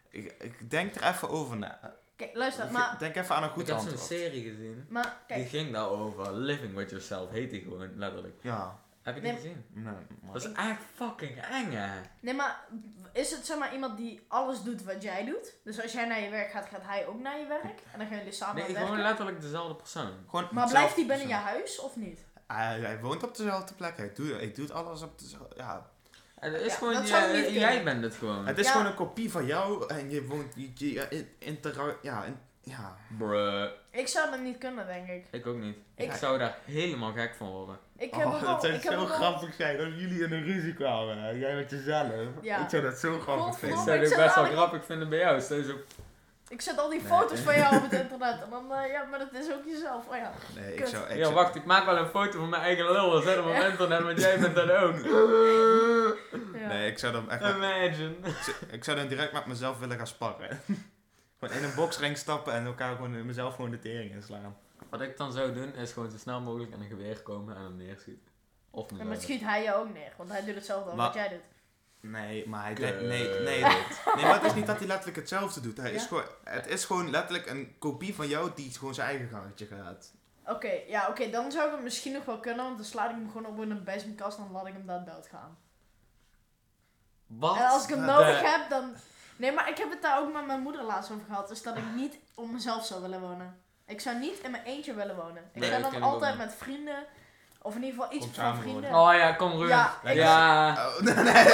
ik, ik denk er even over na.
Kijk, luister, maar...
Denk even aan een
Ik
goed
heb zo'n
antwoord.
serie gezien.
Maar,
Die
kijk.
ging daarover. Living with yourself heet die gewoon, letterlijk.
Ja.
Heb ik
Nee, Ah,
niet gezien.
Nee, maar-
Dat is echt fucking eng, hè?
Nee, maar is het zeg maar iemand die alles doet wat jij doet? Dus als jij naar je werk gaat, gaat hij ook naar je werk? En dan gaan jullie samen
Nee,
aan het
gewoon
werken?
letterlijk dezelfde persoon.
Gewoon
Maar blijft hij binnen je
ja
huis of niet?
Hij, hij woont op dezelfde plek. Ik doe, ik doe het alles op dezelfde... Ja.
Het is
Ja,
gewoon,
dat
je- eh,
zou niet kunnen.
jij bent het gewoon.
Het is
Ja.
gewoon een kopie van jou en je woont... Je, je, in- intera- ja, in- ja.
Bruh.
Ik zou dat niet kunnen, denk ik.
Ik ook niet. Ik,
Ik-
zou daar helemaal gek van worden.
Ik heb ook
Oh, dat
wel,
zou
ik heb
zo
ook wel-
grappig zijn als jullie in een ruzie kwamen. hè. Jij met jezelf.
Ja.
Ik zou dat zo grappig
Godverdomme.
Ik
vinden.
maar ik zou
zou het ook best wel
daar niet-
grappig vinden bij jou. Stel je zo-
Ik zet al die
Nee.
foto's van jou op het internet. En dan, eh, ja, maar dat is ook jezelf. Oh ja.
Nee, ik
Kut.
zou... Ik
Ja,
zou-
wacht, ik maak wel een foto van mijn eigen lul en zet hem op
Ja.
internet, want jij bent dat ook.
ja.
Nee, ik zou dan echt... met-
Imagine.
Ik zou- Ik zou dan direct met mezelf willen gaan sparren. gewoon in een boksring stappen en elkaar gewoon eh, mezelf gewoon de tering inslaan.
Wat ik dan zou doen, is gewoon zo snel mogelijk aan een geweer komen en hem neerschieten. Of
Ja, maar
mezelf.
schiet hij jou ook neer, want hij doet hetzelfde als
Maar-
wat jij doet.
Nee, maar hij
Kut.
denkt, nee, nee, dit. nee, maar het is niet dat hij letterlijk hetzelfde doet. Hij is
Ja?
gewoon, het is gewoon letterlijk een kopie van jou die gewoon zijn eigen gangetje gaat.
Oké, ja, oké, dan zou ik het misschien nog wel kunnen, want dan slaat ik hem gewoon op in een bezemkast en dan laat ik hem daar doodgaan.
Wat?
En als ik hem
de-
nodig heb, dan... Nee, maar ik heb het daar ook met mijn moeder laatst over gehad, dus dat ik niet om mezelf zou willen wonen. Ik zou niet in mijn eentje willen wonen. Ik
Nee,
ben
dat
dan
ken ik ook
altijd
niet.
met vrienden, of in ieder geval iets
Om
van
samen
vrienden.
Oh ja, kom Ruud. Ja.
Ja, ik,
Oh, nee,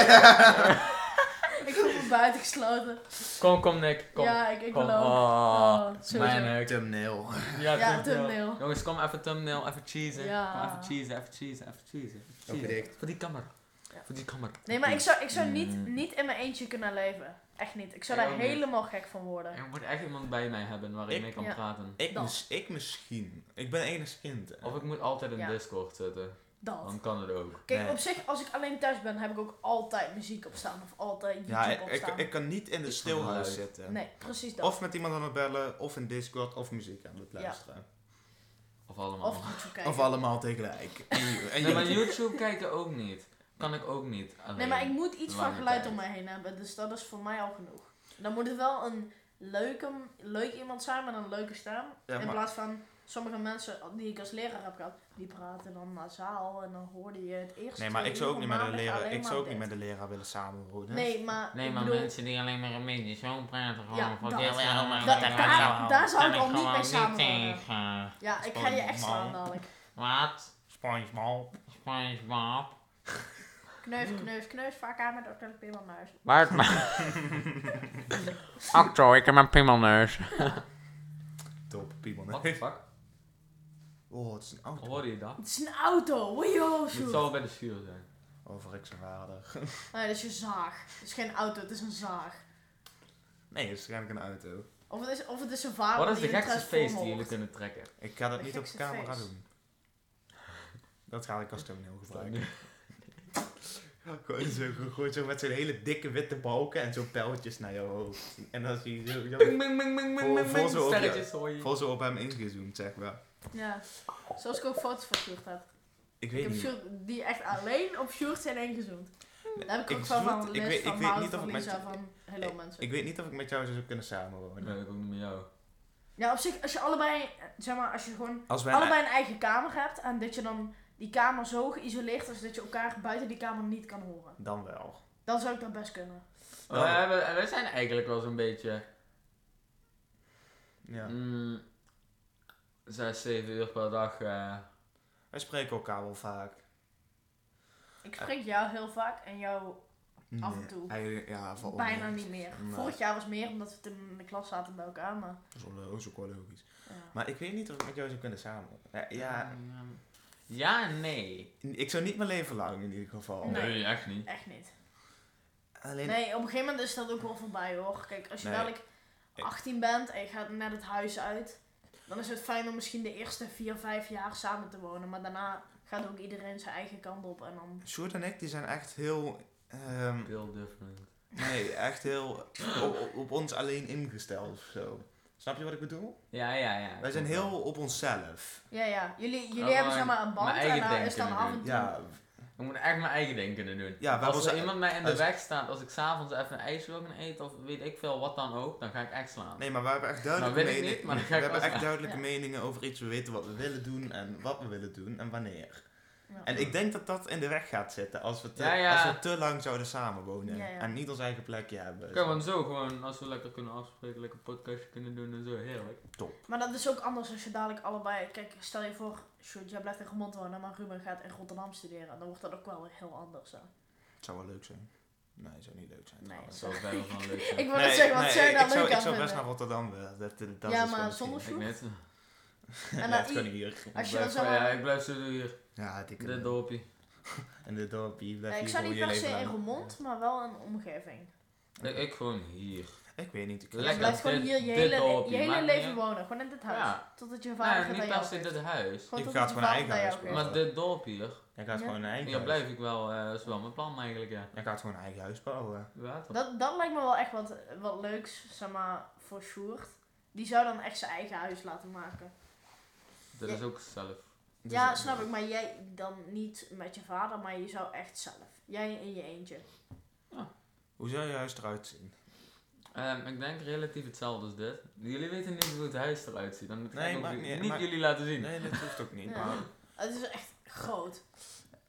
ik voel me buitengesloten.
Kom, kom Nick. Kom.
Ja, ik, ik
kom.
beloof.
Oh,
Oh, sowieso.
mijn nek.
thumbnail.
Ja,
Ja,
thumbnail.
thumbnail.
Jongens, kom even thumbnail, even cheesen.
Ja.
Kom even cheesen, even cheesen, even cheesen. even cheesen.
Opgedikt.
Voor die camera.
Ja.
Voor die camera.
Nee, maar ik zou, ik zou
Mm.
niet, niet in mijn eentje kunnen leven. Echt niet. Ik zou
Ik
daar
ook niet.
helemaal gek van worden.
Er moet echt iemand bij mij hebben waar ik,
Ik-
mee kan
Ja.
praten.
Ik,
Dan.
mis- ik misschien. Ik ben enig kind. hè.
Of ik moet altijd in
Ja.
Discord zitten.
Dat.
Dan kan het ook.
Kijk,
Nee.
op zich, als ik alleen thuis ben, heb ik ook altijd muziek op staan. Of altijd YouTube
ja, ik,
op
ik,
staan.
ik kan niet in de
Ik
stilhuis
vond het
zitten.
nee, precies dat.
Of met iemand aan het bellen, of in Discord, of muziek aan het
Ja.
luisteren.
Of allemaal.
Of YouTube kijken.
Of allemaal tegelijk. En, en
nee, maar YouTube kijken ook niet. Kan ik ook niet. Alleen.
nee, maar ik moet iets van
Lange
geluid
tijd.
om mij heen hebben. Dus dat is voor mij al genoeg. Dan moet het wel een leuke, leuk iemand zijn met een leuke stem.
Ja,
in
maar-
plaats van sommige mensen die ik als leraar heb gehad, die praten dan nasaal en dan hoorde je het eerst.
Nee, maar ik zou ook niet met een leraar, ik zou ook niet met een leraar willen samenwonen.
Nee, maar.
Nee,
ik
maar
bedoel,
mensen die alleen maar een beetje zo praten, gewoon
Ja,
van
dat.
heel erg
Dat-
maar
dat-
daar-
daar, daar zou ik al niet mee samen worden.
tegen.
Ja, ik ga je echt slaan dadelijk.
Wat?
SpongeBob.
SpongeBob? Mm.
Kneuf, kneuf, kneuf, vaak aan met Dr. Pimmelmuis.
Waar? Acto, ik heb mijn pimmelneus.
Top, piemel.
What the fuck?
Oh, het is een auto.
Hoorde je dat?
Het is een auto, wojo,
Het
zo.
zal bij de schuur zijn.
Over ik zijn vader.
Nee, dat is je zaag. Het is geen auto, het is een zaag.
Nee, het is eigenlijk een auto.
Of het is, of het is een vader
Wat is
die
de
in een
gekste feest die
transformer
jullie
hoort.
kunnen trekken?
Ik ga dat
Een
niet op
gekse
camera
feest.
doen. Dat ga ik als thumbnail gebruiken. Gewoon zo, gewoon zo met zo'n hele dikke witte balken en zo'n pijltjes naar jouw hoofd. En dan zie je zo,
Ming,
jou-
ming, ming, ming,
Vol-
ming, ming,
vol
ming.
zo op je-
Sterretjes hoor je.
vol zo op hem ingezoomd, zeg maar.
Ja, zoals ik ook foto's van Sjoerd heb.
Ik
Ik
weet
heb
niet.
Sjoerd, die echt alleen op Sjoerd zijn ingezoomd. Daar heb ik
Ik
ook van
zweer
van
het, ik
Liz,
weet-
van
ik weet
Maud,
niet of
van
ik met-
Lisa, van hello mensen.
Ik weet niet of ik met jou zou kunnen samenwonen.
Nee, ik ook niet met jou.
Ja, op zich, als je allebei, eh, zeg maar, als je gewoon
Als wij
allebei een eigen kamer hebt en dat je dan die kamer zo geïsoleerd is dat je elkaar buiten die kamer niet kan horen.
Dan wel.
Dan zou ik dat best kunnen.
Nou.
We, hebben, we zijn eigenlijk wel zo'n beetje
Ja.
mm, zes, zeven uur per dag. eh.
Wij spreken elkaar wel vaak.
Ik spreek jou heel vaak en jou Af en
Nee,
toe.
eigenlijk- ja, voor
bijna niet meer.
Nee.
Vorig jaar was meer omdat we toen in de klas zaten bij elkaar, maar...
Dat is wel- dat is ook wel logisch.
Ja.
Maar ik weet niet of ik met jou zou kunnen samen. Ja, ja,
Ja, nee.
ik zou niet mijn leven lang in ieder geval.
Nee.
echt niet.
Echt niet.
Alleen,
Nee, op een gegeven moment is dat ook wel voorbij hoor. Kijk, als je
Nee.
dadelijk 18 bent en je gaat net het huis uit, dan is het fijn om misschien de eerste 4, 5 jaar samen te wonen. Maar daarna gaat ook iedereen zijn eigen kant op en dan.
Sjoerd en ik die zijn echt heel... ehm,
Veel different.
nee, echt heel op, op ons alleen ingesteld of zo. Snap je wat ik bedoel?
Ja, ja, ja.
Wij zijn heel op onszelf.
Ja, ja. Jullie, jullie
Oh,
hebben
maar
zeg maar een band
mijn
en
eigen
daar is
denken
dan af en toe.
Ja,
Ik moet echt mijn eigen ding kunnen doen.
Ja, wij
als er
was-
iemand mij in de
als-
weg staat, als ik s'avonds even een ijsje wil gaan eten of weet ik veel wat dan ook, dan ga ik echt slaan.
nee, maar we hebben echt duidelijke,
weet ik
meningen-
niet, maar dan
we
ga ik
hebben
wel
echt duidelijke
Ja.
meningen over iets. We weten wat we willen doen en wat we willen doen en wanneer.
Ja.
En ik denk dat dat in de weg gaat zitten als we te,
Ja, ja.
Als we te lang zouden samenwonen
Ja, ja.
en niet ons eigen plekje hebben.
Kunnen we hem zo gewoon, als we lekker kunnen afspreken, lekker een podcastje kunnen doen en zo, heerlijk.
Maar dat is ook anders als je dadelijk allebei... Kijk, stel je voor, Sjoerd, jij blijft in Gemond wonen, maar Ruben gaat in Rotterdam studeren. Dan wordt dat ook wel weer heel anders. Hè?
Het zou wel leuk zijn. Nee, het zou niet leuk zijn.
Nee,
trouwens.
Dat zou bijna van leuk zijn.
Ik wil net zeggen, wat zou je
ik-
daar
ik zou,
leuk
Ik
aan
zou best
vinden?
naar Rotterdam willen. Dat, dat
Ja,
is dus
maar
gewoon
zonder
hetgeen.
Ik net.
En
Ja,
dan
het
i-
kan hier.
Als je
Blijf-
dan zo...
Ja, ik blijf zo hier.
Ja, ik
Dit dorpje.
En dit dorp, hier
Ja,
blijf
ik
hier
zou
voor
niet
je
per se
leven
in
lang.
Roermond, maar wel in een omgeving.
Ik, ik gewoon hier.
Ik weet niet. Ik
Dus
Lekker
je blijft gewoon
dit-
hier je
dit
hele,
dorpje,
je hele
maakt
leven
niet
wonen. Gewoon in dit huis.
Ja.
Totdat je vader
Nee,
gaat
niet
aan
per
jou
se
geeft.
dit huis.
Gewoon
Ik
totdat
ga het
je
gewoon
vader
eigen
aan
huis
jou
bouwen.
geeft.
Maar dit dorpje hier,
Jij gaat
Ja.
gewoon een eigen
hier
huis.
blijf ik wel, eh is wel mijn plan eigenlijk, ja.
Jij gaat gewoon een eigen huis bouwen.
Water.
Dat, dat lijkt me wel echt wat, wat leuks, zeg maar, voor Sjoerd. Die zou dan echt zijn eigen huis laten maken.
Dat is ook zelf.
Dus
ja, snap ik. Maar jij dan niet met je vader, maar je zou echt zelf. Jij in je eentje.
Hoe zou je huis eruit zien?
Ehm, ik denk relatief hetzelfde als dit. Jullie weten niet hoe het huis eruit ziet. Dan ga
Nee,
ik ook
maakt
ju-
niet-
niet,
maakt-
jullie laten zien.
Nee, dat hoeft ook niet.
Ja.
Maar
Het is echt groot.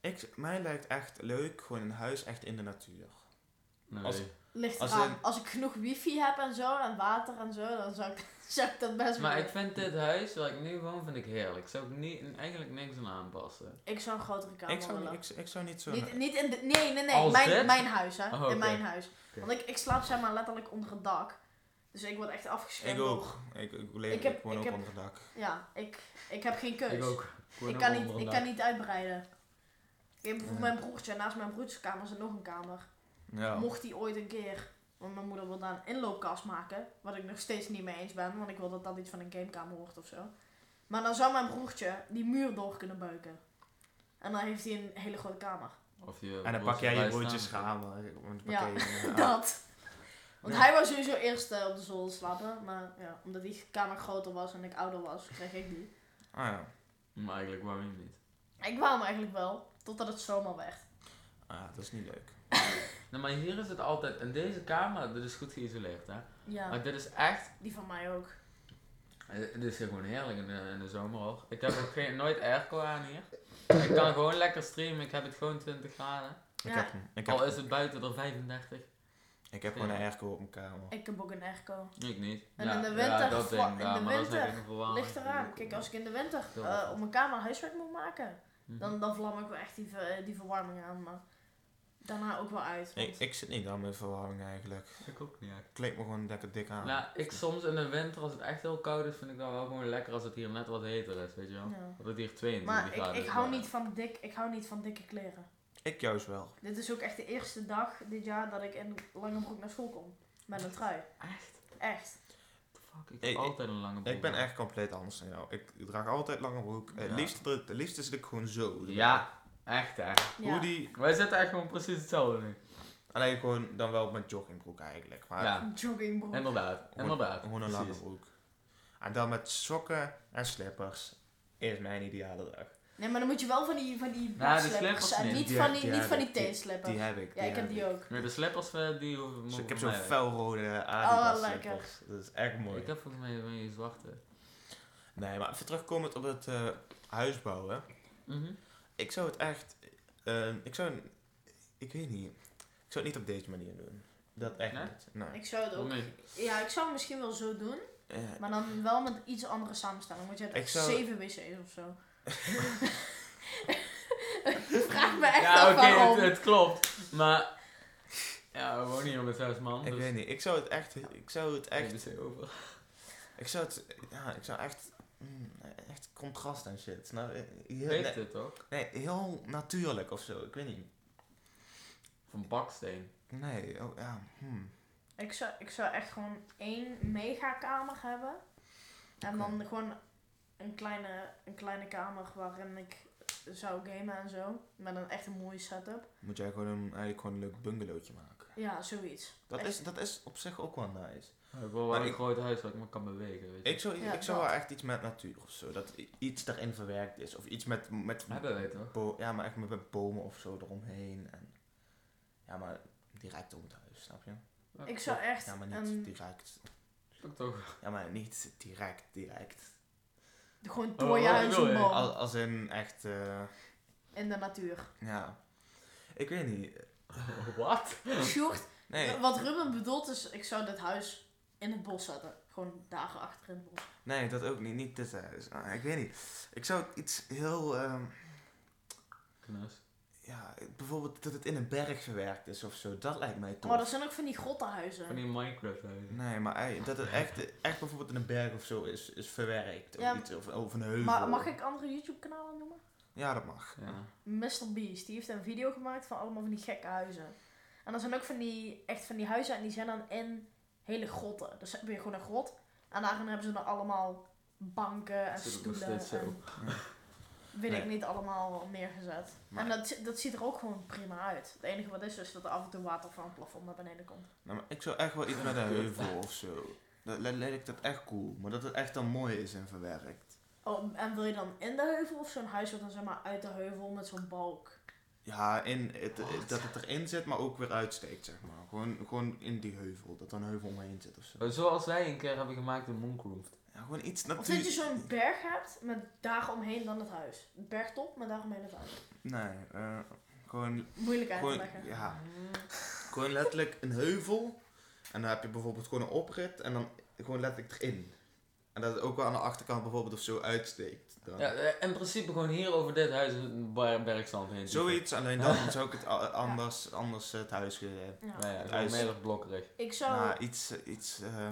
ik, mij lijkt echt leuk gewoon een huis echt in de natuur.
Nee.
Als-
Ligt
Als
eraan.
in-
Als ik genoeg wifi heb en zo, en water en zo, dan zou ik, zou ik dat best
Maar
willen.
ik vind dit huis, waar ik nu woon, vind ik heerlijk. Zou ik niet, eigenlijk niks aan aanpassen.
Ik zou een grotere kamer
Ik zou,
willen.
niet- ik, ik zou niet zo...
Niet, niet in de, nee, nee, nee.
Als
Mijn,
dit?
mijn huis, hè.
Oh, oké.
In mijn huis. Want ik, ik slaap zeg maar letterlijk onder het dak. Dus ik word echt
ik
afgeschermd.
ook. Ik, ik leef
Ik
ik
heb-
gewoon
ik
ook
heb-
onder dak.
Ja, ik, ik heb geen keus.
Ik ook. Gewoon
Ik
ook
kan niet,
onder
ik
dak.
kan niet uitbreiden. Ik heb bijvoorbeeld
Ja.
mijn broertje. en Naast mijn broertjeskamer zit nog een kamer.
Ja.
Mocht die ooit een keer... Want mijn moeder wil daar een inloopkast maken. Wat ik nog steeds niet mee eens ben. Want ik wil dat dat iets van een gamekamer wordt of zo. Maar dan zou mijn broertje die muur door kunnen beuken. En dan heeft hij een hele grote kamer.
Of je
En dan pak
broertje
jij je
erbij
broodjes
staan.
schamen.
Ja.
Ja.
Dat. Want
Ja.
hij was sowieso eerst eh, op de zolder slapen. Maar ja, omdat die kamer groter was en ik ouder was, kreeg ik die.
Ah ja.
Maar eigenlijk waarom je niet?
Ik wou hem eigenlijk wel, totdat het zomaar werd.
Ah, dat is niet leuk.
Nou, maar hier is het altijd, in deze kamer, dit is goed geïsoleerd hè.
Ja,
Ah.
Maar dit is echt,
die van mij ook.
eh, dit is hier gewoon heerlijk in de, in de zomer hoor. Ik heb ook geen, nooit airco aan hier. Ik kan gewoon lekker streamen, ik heb het gewoon 20 graden.
Ik
Ja.
heb, ik
Al
heb,
is het buiten er 35.
ik heb gewoon een airco op mijn kamer.
Ik heb ook een airco.
Ik niet.
En in de winter
dat
vla-
ding
in
daar,
de
maar dat is
winter
eigenlijk een
Ah,
verwarming.
Ligt eraan. Kijk, als ik in de winter
Heel
eh,
erg.
op mijn kamer huiswerk moet maken,
Mhm.
dan, dan vlam ik wel echt die, ver- eh, die verwarming aan. Maar daarna ook wel uit. want-
Ik, ik zit niet aan mijn verwarming eigenlijk.
Ik ook niet echt.
Ik kleed me gewoon lekker dik
Ah.
aan.
Nou, ik soms in de winter, als het echt heel koud is, vind ik dat wel gewoon lekker als het hier net wat heter is, weet je wel.
ja.
Dat het hier 22
Maar ik,
graden
ik,
is,
hou
maar-
niet van dik, ik hou niet van dikke kleren.
Ik juist wel.
Dit is ook echt de eerste dag dit jaar dat ik in lange broek naar school kom. Met een trui.
Echt?
Echt.
Fuck, ik
Ik-
heb
ik-
altijd een lange broek.
Ik ben
aan.
echt compleet anders dan jou. Ik draag altijd lange broek. Eh, Het
Ja.
liefst, het liefst zit ik gewoon zo.
Ja, echt hè.
Ja.
Hoodie.
Wij zitten echt gewoon precies hetzelfde nu.
Alleen gewoon dan wel met joggingbroek eigenlijk. Maar
Ja,
Een Joggingbroek.
inderdaad.
gewoon,
Inderdaad.
Gewoon een lange
precies.
broek. En dan met sokken en slippers. Is mijn ideale dag.
Nee, maar dan moet je wel van die, van die
Nou, die
slippers
slippers
zijn.
niet.
Niet,
Die
van
heb-
die,
die
niet
heb
van
ik.
die teenslippers.
Die heb ik.
ja, ik heb die ook. Oh,
Nee, de slippers eh, die hoeven
Dus
mogen
ik heb
voor
zo'n
mij weg.
felrode Adidas
lekker.
slippers. Dat is echt mooi.
Ik heb volgens mij van je zwarte.
Nee, maar even terugkomend op het eh huis bouwen.
Mhm.
Ik zou het echt... ehm, ik zou... Ik weet niet. Ik zou het niet op deze manier doen. Dat echt
Nee?
niet. Nee.
Ik zou het ook.
Waarom niet?
Ja, ik zou het misschien wel zo doen,
Eh,
maar dan wel met iets andere samenstelling. Want je hebt
Ik
echt
zou-
zeven wc's of zo. Vraag me echt
Ja,
af
oké,
waarom.
het, het klopt. Maar. Ja, we wonen hier met zes man.
Ik
dus
weet niet. Ik zou het echt... Ik zou het echt...
Echt. Over.
Ik zou het... Ja, ik zou echt... mm, echt contrast en shit. Nou, eh, heel,
Weet
nee,
het toch?
nee, heel natuurlijk of zo. Ik weet niet.
Van baksteen.
Nee, oh ja. hmm.
Ik zou, ik zou echt gewoon één megakamer hebben. En dan gewoon een kleine, een kleine kamer waarin ik zou gamen en zo. Met een echt een mooie setup.
Moet jij gewoon een, eigenlijk gewoon een leuk bungalowtje maken.
Ja, zoiets.
Dat
Echt.
is, dat is op zich ook wel nice.
Ik wil
Maar
wel een
ik-
groot huis waar ik me kan bewegen. Weet je.
Ik zou,
Ja,
ik zou
dat.
wel echt iets met natuur of zo. Dat i- iets erin verwerkt is. Of iets met. met
Hebben wij toch?
bo- ja, maar echt met, met bomen of zo eromheen. En, ja, maar die raakt om het huis, snap je?
Ik zou echt ehm,
Ja, maar niet
een,
direct.
Fuck toch?
Ja, maar niet direct, direct.
gewoon
Oh,
door je
wat
huis
wil je?
omhoog.
Al, als in echt. eh,
in de natuur.
Ja. Ik weet niet.
Wat?
Sjoerd,
Nee,
wat Ruben bedoelt is, ik zou dit huis in het bos zetten. Gewoon dagen achter in het bos.
nee, dat ook niet. Niet dit huis. Ah, ik weet niet. Ik zou iets heel... ehm,
Knus.
ja, bijvoorbeeld dat het in een berg verwerkt is of zo. Dat lijkt mij tof.
Maar er zijn ook van die grottenhuizen.
Van die Minecraft huizen.
Nee, maar ei- dat het echt, echt bijvoorbeeld in een berg of zo is, is verwerkt. Of,
Ja,
iets, of, of een heuvel.
Maar mag ik andere YouTube-kanalen noemen?
Ja, dat mag.
Ja.
Mr. Beast, die heeft een video gemaakt van allemaal van die gekke huizen. En er zijn ook van die, echt van die huizen en die zijn dan in hele grotten. Dus heb je gewoon een grot en daarin hebben ze dan allemaal banken en
Zit het nog
stoelen
steeds zo?
en weet ik niet allemaal neergezet.
Maar-
En dat, zi- dat ziet er ook gewoon prima uit. Het enige wat is is dat er af en toe water van het plafond naar beneden komt.
Nou, maar ik zou echt wel iets met een heuvel of zo. Dat li- lijkt dat echt cool. Maar dat het echt dan mooi is en verwerkt.
Oh, en wil je dan in de heuvel of zo'n huis wat dan zeg maar uit de heuvel met zo'n balk?
Ja, in het, dat het erin zit, maar ook weer uitsteekt, zeg maar. Gewoon, gewoon in die heuvel. Dat er een heuvel omheen zit of zo.
Zoals wij een keer hebben gemaakt in Mooncroft.
Ja, gewoon iets
Of dat je
natuurlijk.
zo'n berg hebt met daaromheen dan het huis. Een Bergtop met daaromheen het huis.
Nee, eh, gewoon,
Moeilijk uit te
gewoon,
leggen.
ja, Gewoon letterlijk een heuvel. En dan heb je bijvoorbeeld gewoon een oprit. En dan gewoon letterlijk erin. En dat het ook wel aan de achterkant bijvoorbeeld of zo uitsteekt. Dan.
Ja, eh, in principe gewoon hier over dit huis een bar- bergstand heen.
Zoiets, alleen dan zou ik het a- anders, anders het huis geven.
Ja.
Nou ja,
Het
gewoon
huis.
heel erg blokkerig.
Ik zou...
Nou, iets, eh, iets eh,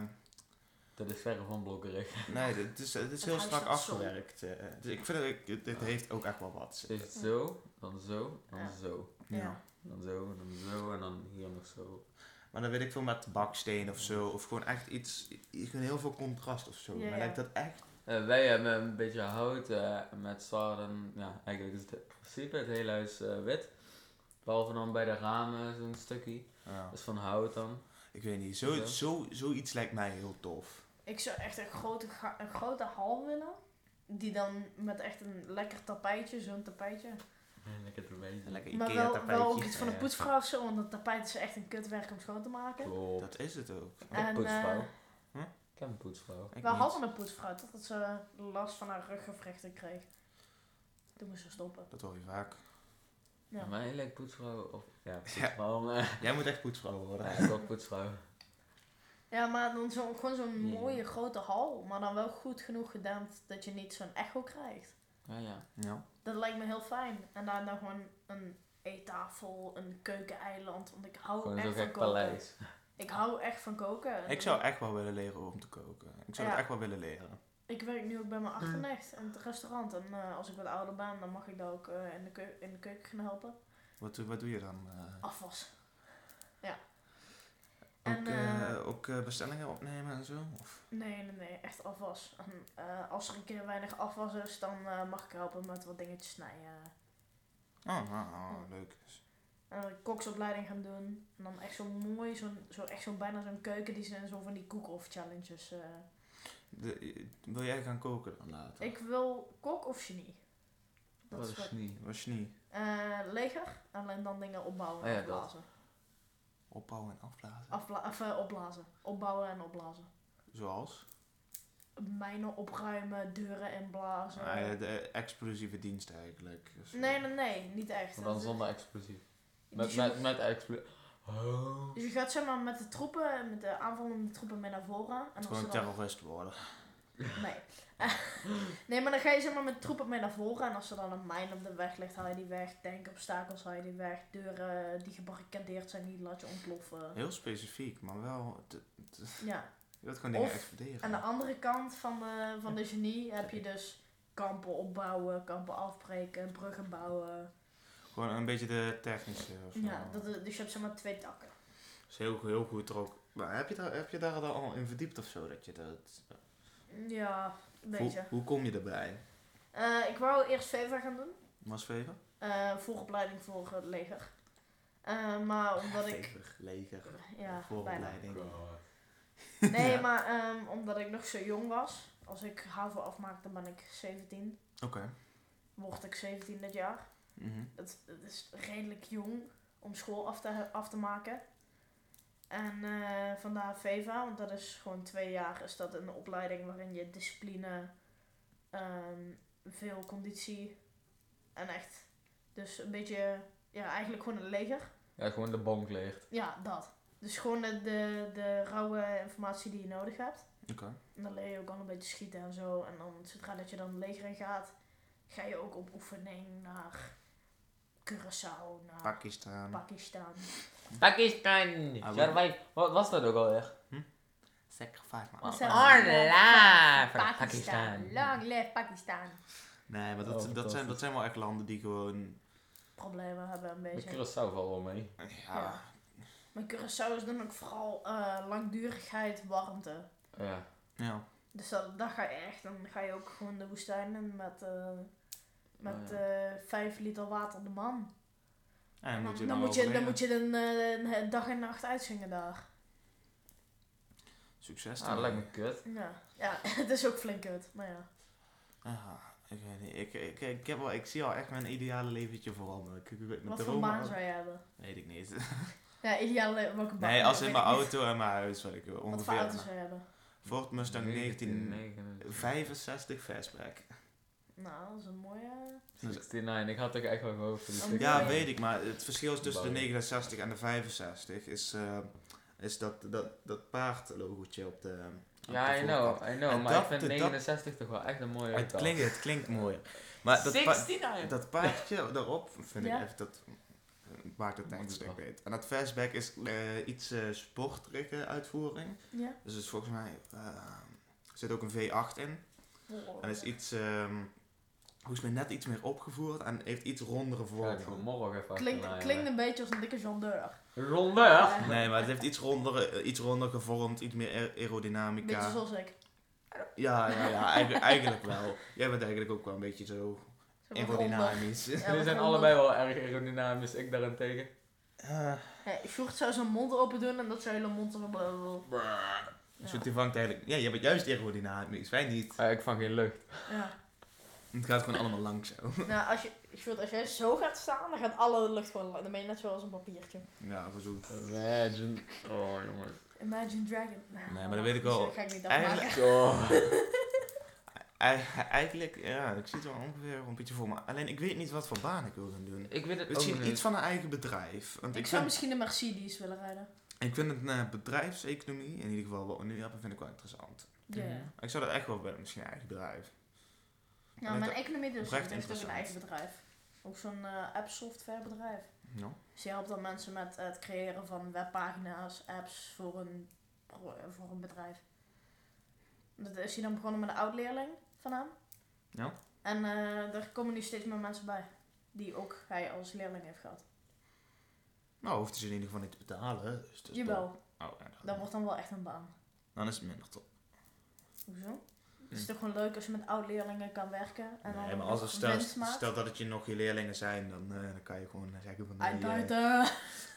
Dat is verre van blokkerig.
nee, dit is, dit is
Het
heel
huis
strak
staat zo.
afgewerkt. eh. dus ik vind dat ik- dit, dit heeft ook echt wel wat.
Is het zo, dan zo, dan
Ja.
zo.
ja.
Dan zo, dan zo en dan hier nog zo.
Maar dan weet ik veel met baksteen of zo. Of gewoon echt iets, i- gewoon heel veel contrast of zo.
Ja,
maar
ja.
lijkt dat echt...
Eh, wij hebben een beetje hout eh, met sarden. Ja, eigenlijk is het in principe het hele huis eh, wit. Behalve dan bij de ramen zo'n stukje.
ja.
Dat is Dus van hout dan.
Ik weet niet, zo,
Ja.
zo, zoiets lijkt mij heel tof.
Ik zou echt een grote, ga- een grote hal willen. Die dan met echt een lekker tapijtje, zo'n tapijtje.
Lekker te weten.
Een lekker
maar
Ikea
wel, wel ook
tapijtje.
iets van een
Ja.
poetsvrouw of zo. Want dat tapijt is echt een kutwerk om schoon te maken.
Klopt.
Dat is het ook.
Ik heb
En,
een poetsvrouw.
eh,
Hm?
Ik heb een poetsvrouw.
Ik
We
niet.
hadden een poetsvrouw totdat ze last van haar ruggewrichten kreeg. Toen moest ze stoppen.
Dat hoor je vaak.
Ja.
Mijn lijkt poetsvrouw of... Ja, poetsvrouw. maar- Ja.
Jij moet echt poetsvrouw worden.
ik ook poetsvrouw.
Ja, maar dan zo, gewoon zo'n
Ja.
mooie grote hal. Maar dan wel goed genoeg gedempt dat je niet zo'n echo krijgt.
Ja, ja.
Ja.
Dat lijkt me heel fijn. En daarna gewoon een eettafel, een keukeneiland. Want ik hou
Gewoon zo'n
Oh, echt van
gek
koken.
paleis.
Ik hou echt van koken.
Ik zou echt wel willen leren om te koken. Ik zou
Ja.
het echt wel willen leren.
Ik werk nu ook bij mijn achternecht in het restaurant. En eh, als ik wat ouder ben, dan mag ik daar ook eh, in, de keu- in de keuken gaan helpen.
Wat, doe- wat doe je dan? eh?
Afwas. Ja.
ook
En,
eh,
eh,
ook eh, bestellingen opnemen en zo? Of?
Nee, nee, nee. Echt afwas. En, eh, als er een keer weinig afwas is, dan eh, mag ik helpen met wat dingetjes snijden.
Oh, nou, oh, leuk.
En dan een eh, koksopleiding gaan doen. En dan echt zo'n mooi, zo'n, zo, echt zo'n bijna zo'n keuken die ze in zo van die cook-off challenges... eh,
De- eh, wil jij gaan koken dan later?
Ik wil kok of genie. Dat
Wat
is wat.
is niet.
Was je niet
Eh, leger, alleen dan dingen opbouwen en
Oh ja, dat.
opblazen.
opbouwen en afblazen?
Afbla of, eh, opblazen. Opbouwen en opblazen.
Zoals?
Mijnen opruimen, deuren inblazen.
Ah, ja, de explosieve dienst eigenlijk. Dus, eh,
nee, nee, nee, niet echt.
Maar dan
Dat-
zonder explosief.
dus
Met,
je-
met, met explosief. Oh.
dus je gaat zeg maar met de troepen, met de aanvallende troepen mee naar voren. En
het
als ze
gewoon
dan
terrorist worden.
Nee. nee, maar dan ga je zeg maar met troepen mee naar voren. En als er dan een mijn op de weg ligt, haal je die weg. Tankobstakels haal je die weg. Deuren die gebarricadeerd zijn, die laat je ontploffen.
Heel specifiek, maar wel... te-
Ja.
Je wilt gewoon dingen
Of
exploderen.
Aan de andere kant van de, van de genie heb je dus kampen opbouwen, kampen afbreken, bruggen bouwen.
Gewoon een beetje de technische... of zo.
Ja, dat, is- dus je hebt zeg maar twee takken.
is heel, heel goed er ook. Maar heb je, daar, heb je daar dan al in verdiept of zo? Dat je dat,
Ja, een beetje.
Hoe, hoe kom je erbij?
Eh, ik wou eerst Veva gaan doen.
Masvever?
Eh vooropleiding voor het leger. Eh, maar omdat ik...
Vever, leger. eh,
Ja, bijna.
Vooropleiding.
Nee,
Ja.
maar ehm, omdat ik nog zo jong was. Als ik HAVO afmaak, dan ben ik 17.
Oké.
Word ik 17 dit jaar.
Mhm.
Dat, dat is redelijk jong om school af te, af te maken. En eh, vandaar VEVA, want dat is gewoon twee jaar, is dat een opleiding waarin je discipline, ehm, veel conditie en echt Dus een beetje, ja, eigenlijk gewoon een leger.
Ja, gewoon de bonk leegt.
Ja, dat. Dus gewoon de, de, de rauwe informatie die je nodig hebt.
Oké.
En dan leer je ook al een beetje schieten en zo. En dan, zodra dat je dan het leger in gaat, ga je ook op oefening naar Curaçao, naar
Pakistan.
Pakistan.
Pakistan!
Ah,
Survive. Wat was dat ook alweer?
Sacrifice, man.
Wat
Wow.
zijn we?
Arne
Lang
Laaf,
leven
Pakistan.
Lang leef Pakistan.
Nee, maar dat,
Oh,
dat, zijn, dat
fantastisch.
zijn wel echt landen die gewoon...
Problemen hebben een
De
beetje.
Curaçao valt wel mee.
Ja,
Ja. Maar Curaçao is dan ook vooral eh, langdurigheid, warmte.
Ja.
ja.
Dus dat, dat ga je echt. Dan ga je ook gewoon de woestijn in met, eh met
Oh,
eh, 5 liter water de man.
En dan moet je
dan,
dan
moet je, dan
overleven.
moet je een, eh, een dag en nacht uitzingen daar.
Succes
Ah, dat lijkt me kut.
Ja, ja het is ook flink kut, maar ja.
Ja, ik weet niet. Ik, ik, ik, heb wel, ik zie al echt mijn ideale leventje veranderen. Ik, ik weet, mijn
Wat voor
dromen-
baan zou je hebben?
Weet ik niet.
Ja, ideaal eh, welke baan.
Nee, als
Weet
in
ik
mijn
niet.
auto en mijn huis wil ik wel
Wat voor
ongeveer.
auto zou je hebben?
Ford Mustang
1995.
1965 Fastback.
Nou, dat is een mooie...
69, ik had toch echt wel gehoopt voor die
Ja,
69.
Ja,
Oh, Nee.
weet ik, maar het verschil is tussen de
Bouwen.
69 en de 65 is, eh, is dat, dat, dat paardlogootje op de. op
Ja,
de
I
voorkant.
know, I know,
En
maar
dat-
ik vind
dat-
69 toch wel echt een mooie
Het
getal.
klinkt, het klinkt mooier. Maar dat, pa-
69!
dat paardje daarop vind
Ja.
ik echt, dat maakt het echt een stuk beter. En dat fastback is eh, iets eh sportrijke uitvoering.
Ja?
Dus het is volgens mij eh, er zit ook een V8 in. En is iets, ehm hoe is het net iets meer opgevoerd en heeft iets rondere
Ga ik
vormen.
vanmorgen even
Klinkt,
achterna,
klinkt
ja.
een beetje als een dikke John Deur. Eh,
Ronde!
Ja,
Nee, maar het heeft iets ronder, eh, iets ronder gevormd, iets meer aer-
Een beetje
aerodynamica.
zoals ik.
Ja, ja, ja, eigenlijk, eigenlijk wel. Jij bent eigenlijk ook wel een beetje zo
Zo wat ronder.
aerodynamisch.
Ja,
Jullie
wat
zijn
ronder.
allebei wel erg aerodynamisch, ik daarentegen.
Eh,
Nee, Sjoerd zou zijn mond open doen en dat zou hele mond zo... blablabla.
Zo,
Ja.
die vangt eigenlijk... Ja, jij bent juist aerodynamisch, wij niet.
Eh, ik vang geen lucht.
ja.
Het gaat gewoon allemaal lang zo.
Nou, als, je, Sjoerd, als jij zo gaat staan, dan gaat alle lucht gewoon... Dan ben je net zoals een papiertje.
Ja, voor zo.
Imagine. Oh, jongen.
Imagine Dragon. Nou,
Nee, maar dat weet ik wel.
ga ik niet afmaken.
Eigenlijk,
Oh.
ei- eigenlijk, ja, ik zie het wel ongeveer een beetje voor me. Alleen ik weet niet wat voor baan ik wil gaan doen.
Ik weet het ook
Misschien
niet.
iets van een eigen bedrijf. Want
Ik,
ik,
zou
vind,
misschien de Mercedes willen rijden.
ik vind het eh, bedrijfseconomie, in ieder geval wat we nu hebben, vind ik wel interessant.
Ja.
Mhm.
Ik zou dat echt wel willen, misschien een eigen bedrijf.
Nou, mijn economie dus.
Oprecht
Ik denk toch een
interessant.
eigen bedrijf. Ook zo'n eh, app software bedrijf.
No?
Ze helpt dan mensen met eh, het creëren van webpagina's, apps voor een, pro- voor een bedrijf. Dat is hij dan begonnen met een oud-leerling van hem.
Ja.
En eh, daar komen nu steeds meer mensen bij. Die ook hij als leerling heeft gehad.
Nou, hoeft hij ze in ieder geval niet te betalen. Dus dat is
Jawel,
top. Oh, ja, dan,
dat wordt dan wel echt een baan.
dan is het minder top.
Hoezo? Het is toch gewoon leuk als je met oud-leerlingen kan werken. En
Hm. Nee,
dan
maar als
nog
er stel,
winst maakt.
stel dat het je nog je leerlingen zijn, dan, eh, dan kan je gewoon zeggen van... nee, eh,
Uitbuiten.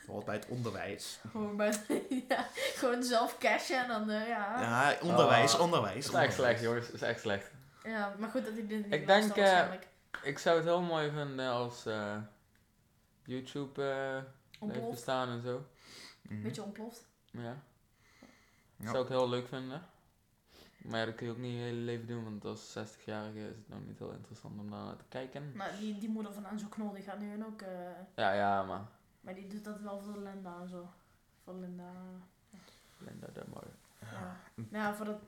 hoort bij het onderwijs.
Gewoon, bij, ja, gewoon zelf cashen en dan, eh, ja. ja.
Ja, onderwijs,
Ah,
onderwijs.
Het is echt
onderwijs.
slecht, jongens. Het is echt slecht.
maar goed dat hij dit niet
Ik
luistert
denk, eh,
waarschijnlijk.
Ik zou het heel mooi vinden als eh, YouTube eh blijft
Ontploft.
bestaan en zo.
Mhm.
Beetje ontploft.
Ja.
Ja.
Zou ik heel leuk vinden. Maar ja, dat kun je ook niet je hele leven doen, want als 60-jarige is het nou niet heel interessant om daar naar te kijken.
Nou, die, die moeder van Enzo Knol, die gaat nu hun ook... eh,
Ja, ja, maar.
maar die doet dat wel voor Linda en zo. Voor Linda...
Linda de Moor.
Ja. Nou ja, voor dat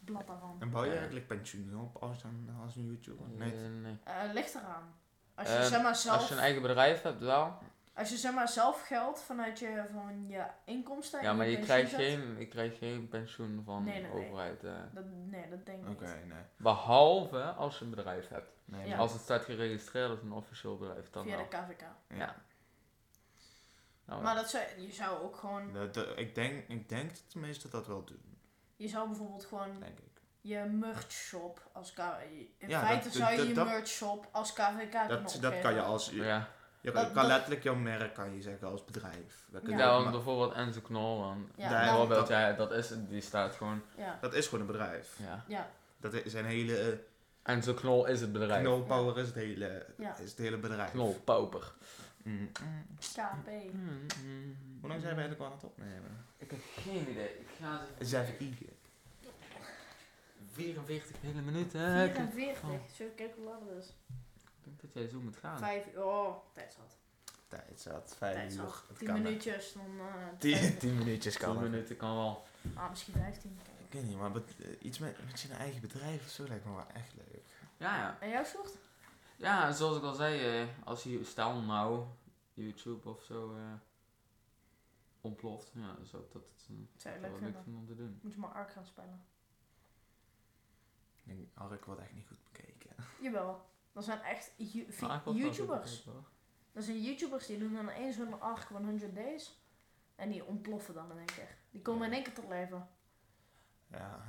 blad daarvan.
En bouw je
Ja.
eigenlijk pensioen op als een, als een YouTuber? Nee.
Eh, nee.
Eh ligt eraan. Als je,
Eh,
zeg maar zelf,
Als je een eigen bedrijf hebt, wel.
als je zeg maar zelf geld vanuit je, van je inkomsten... en
Ja, maar je
pensioen
krijgt
zet-
geen, je krijgt geen pensioen van
Nee, nee,
de
nee.
overheid. eh.
Dat, nee, dat denk ik
Oké,
niet.
nee.
Behalve als je een bedrijf hebt.
nee
Ja.
maar-
Als het staat geregistreerd als een officieel bedrijf, dan
Via
wel.
de KVK.
ja.
Nou,
Maar dat zou, je zou ook gewoon...
Dat- dat- ik, denk, ik denk dat de meesten dat wel doen,
Je zou bijvoorbeeld gewoon
denk ik.
je merch shop als K In
Ja,
feite
dat-
zou je
dat-
je
dat-
merch shop als KVK kunnen
Dat, dat kan je
opgeven.
als... Je,
ja.
je
Dat-
kan
dat-
letterlijk jouw merk, kan je zeggen, als bedrijf. Dat, kun je
Ja.
Ja,
ook
want
ma-
bijvoorbeeld Enzo Knol, dan
Ja,
Daar-
dan-
bijvoorbeeld, ja, dat is, die staat gewoon,
Ja,
dat is gewoon een bedrijf.
ja.
ja.
Dat is zijn hele...
Enzo Knol is het
eh,
bedrijf. Knol,
Knolpower is, het hele,
Ja.
is het hele bedrijf.
Pauper. mm,
Mm, mm.
KP.
Eh,
Hoe lang zijn we eigenlijk al aan het opnemen?
Ik heb geen idee. Ik ga eens
Eens even kijken.
44 hele minuten.
44, zo kijk hoe laat het is.
Ik denk dat jij zo moet gaan.
Vijf uur. Oh, tijd zat.
Tijd zat, vijf
Tijd
uur.
zat.
Het
Tien
kan hè.
minuutjes, dan... eh
Tien,
vijf uur.
tien minuutjes kan
Tien
het.
minuten kan wel.
Ah, misschien vijftien. kijk.
Ik weet niet, maar bet- eh, iets met, met je eigen bedrijf of zo lijkt me wel echt leuk.
Ja, ja.
En jouw soort?
Ja, zoals ik al zei, eh, als je, stel nou, YouTube of zo eh, ontploft, ja, dan zou ik dat eh,
Zou je
wel
leuk
leuk
vinden.
vinden om te doen.
Moet je maar Ark gaan spelen.
Ik denk, Ark wordt echt niet goed bekeken.
Jawel. Dat zijn echt ju- vi-
Maar ik wil het wel
YouTubers.
doen, hoor.
Dat zijn YouTubers die doen dan eens zo'n Ark 100 Days. En die ontploffen dan in één keer. Die komen in één keer tot leven.
Ja,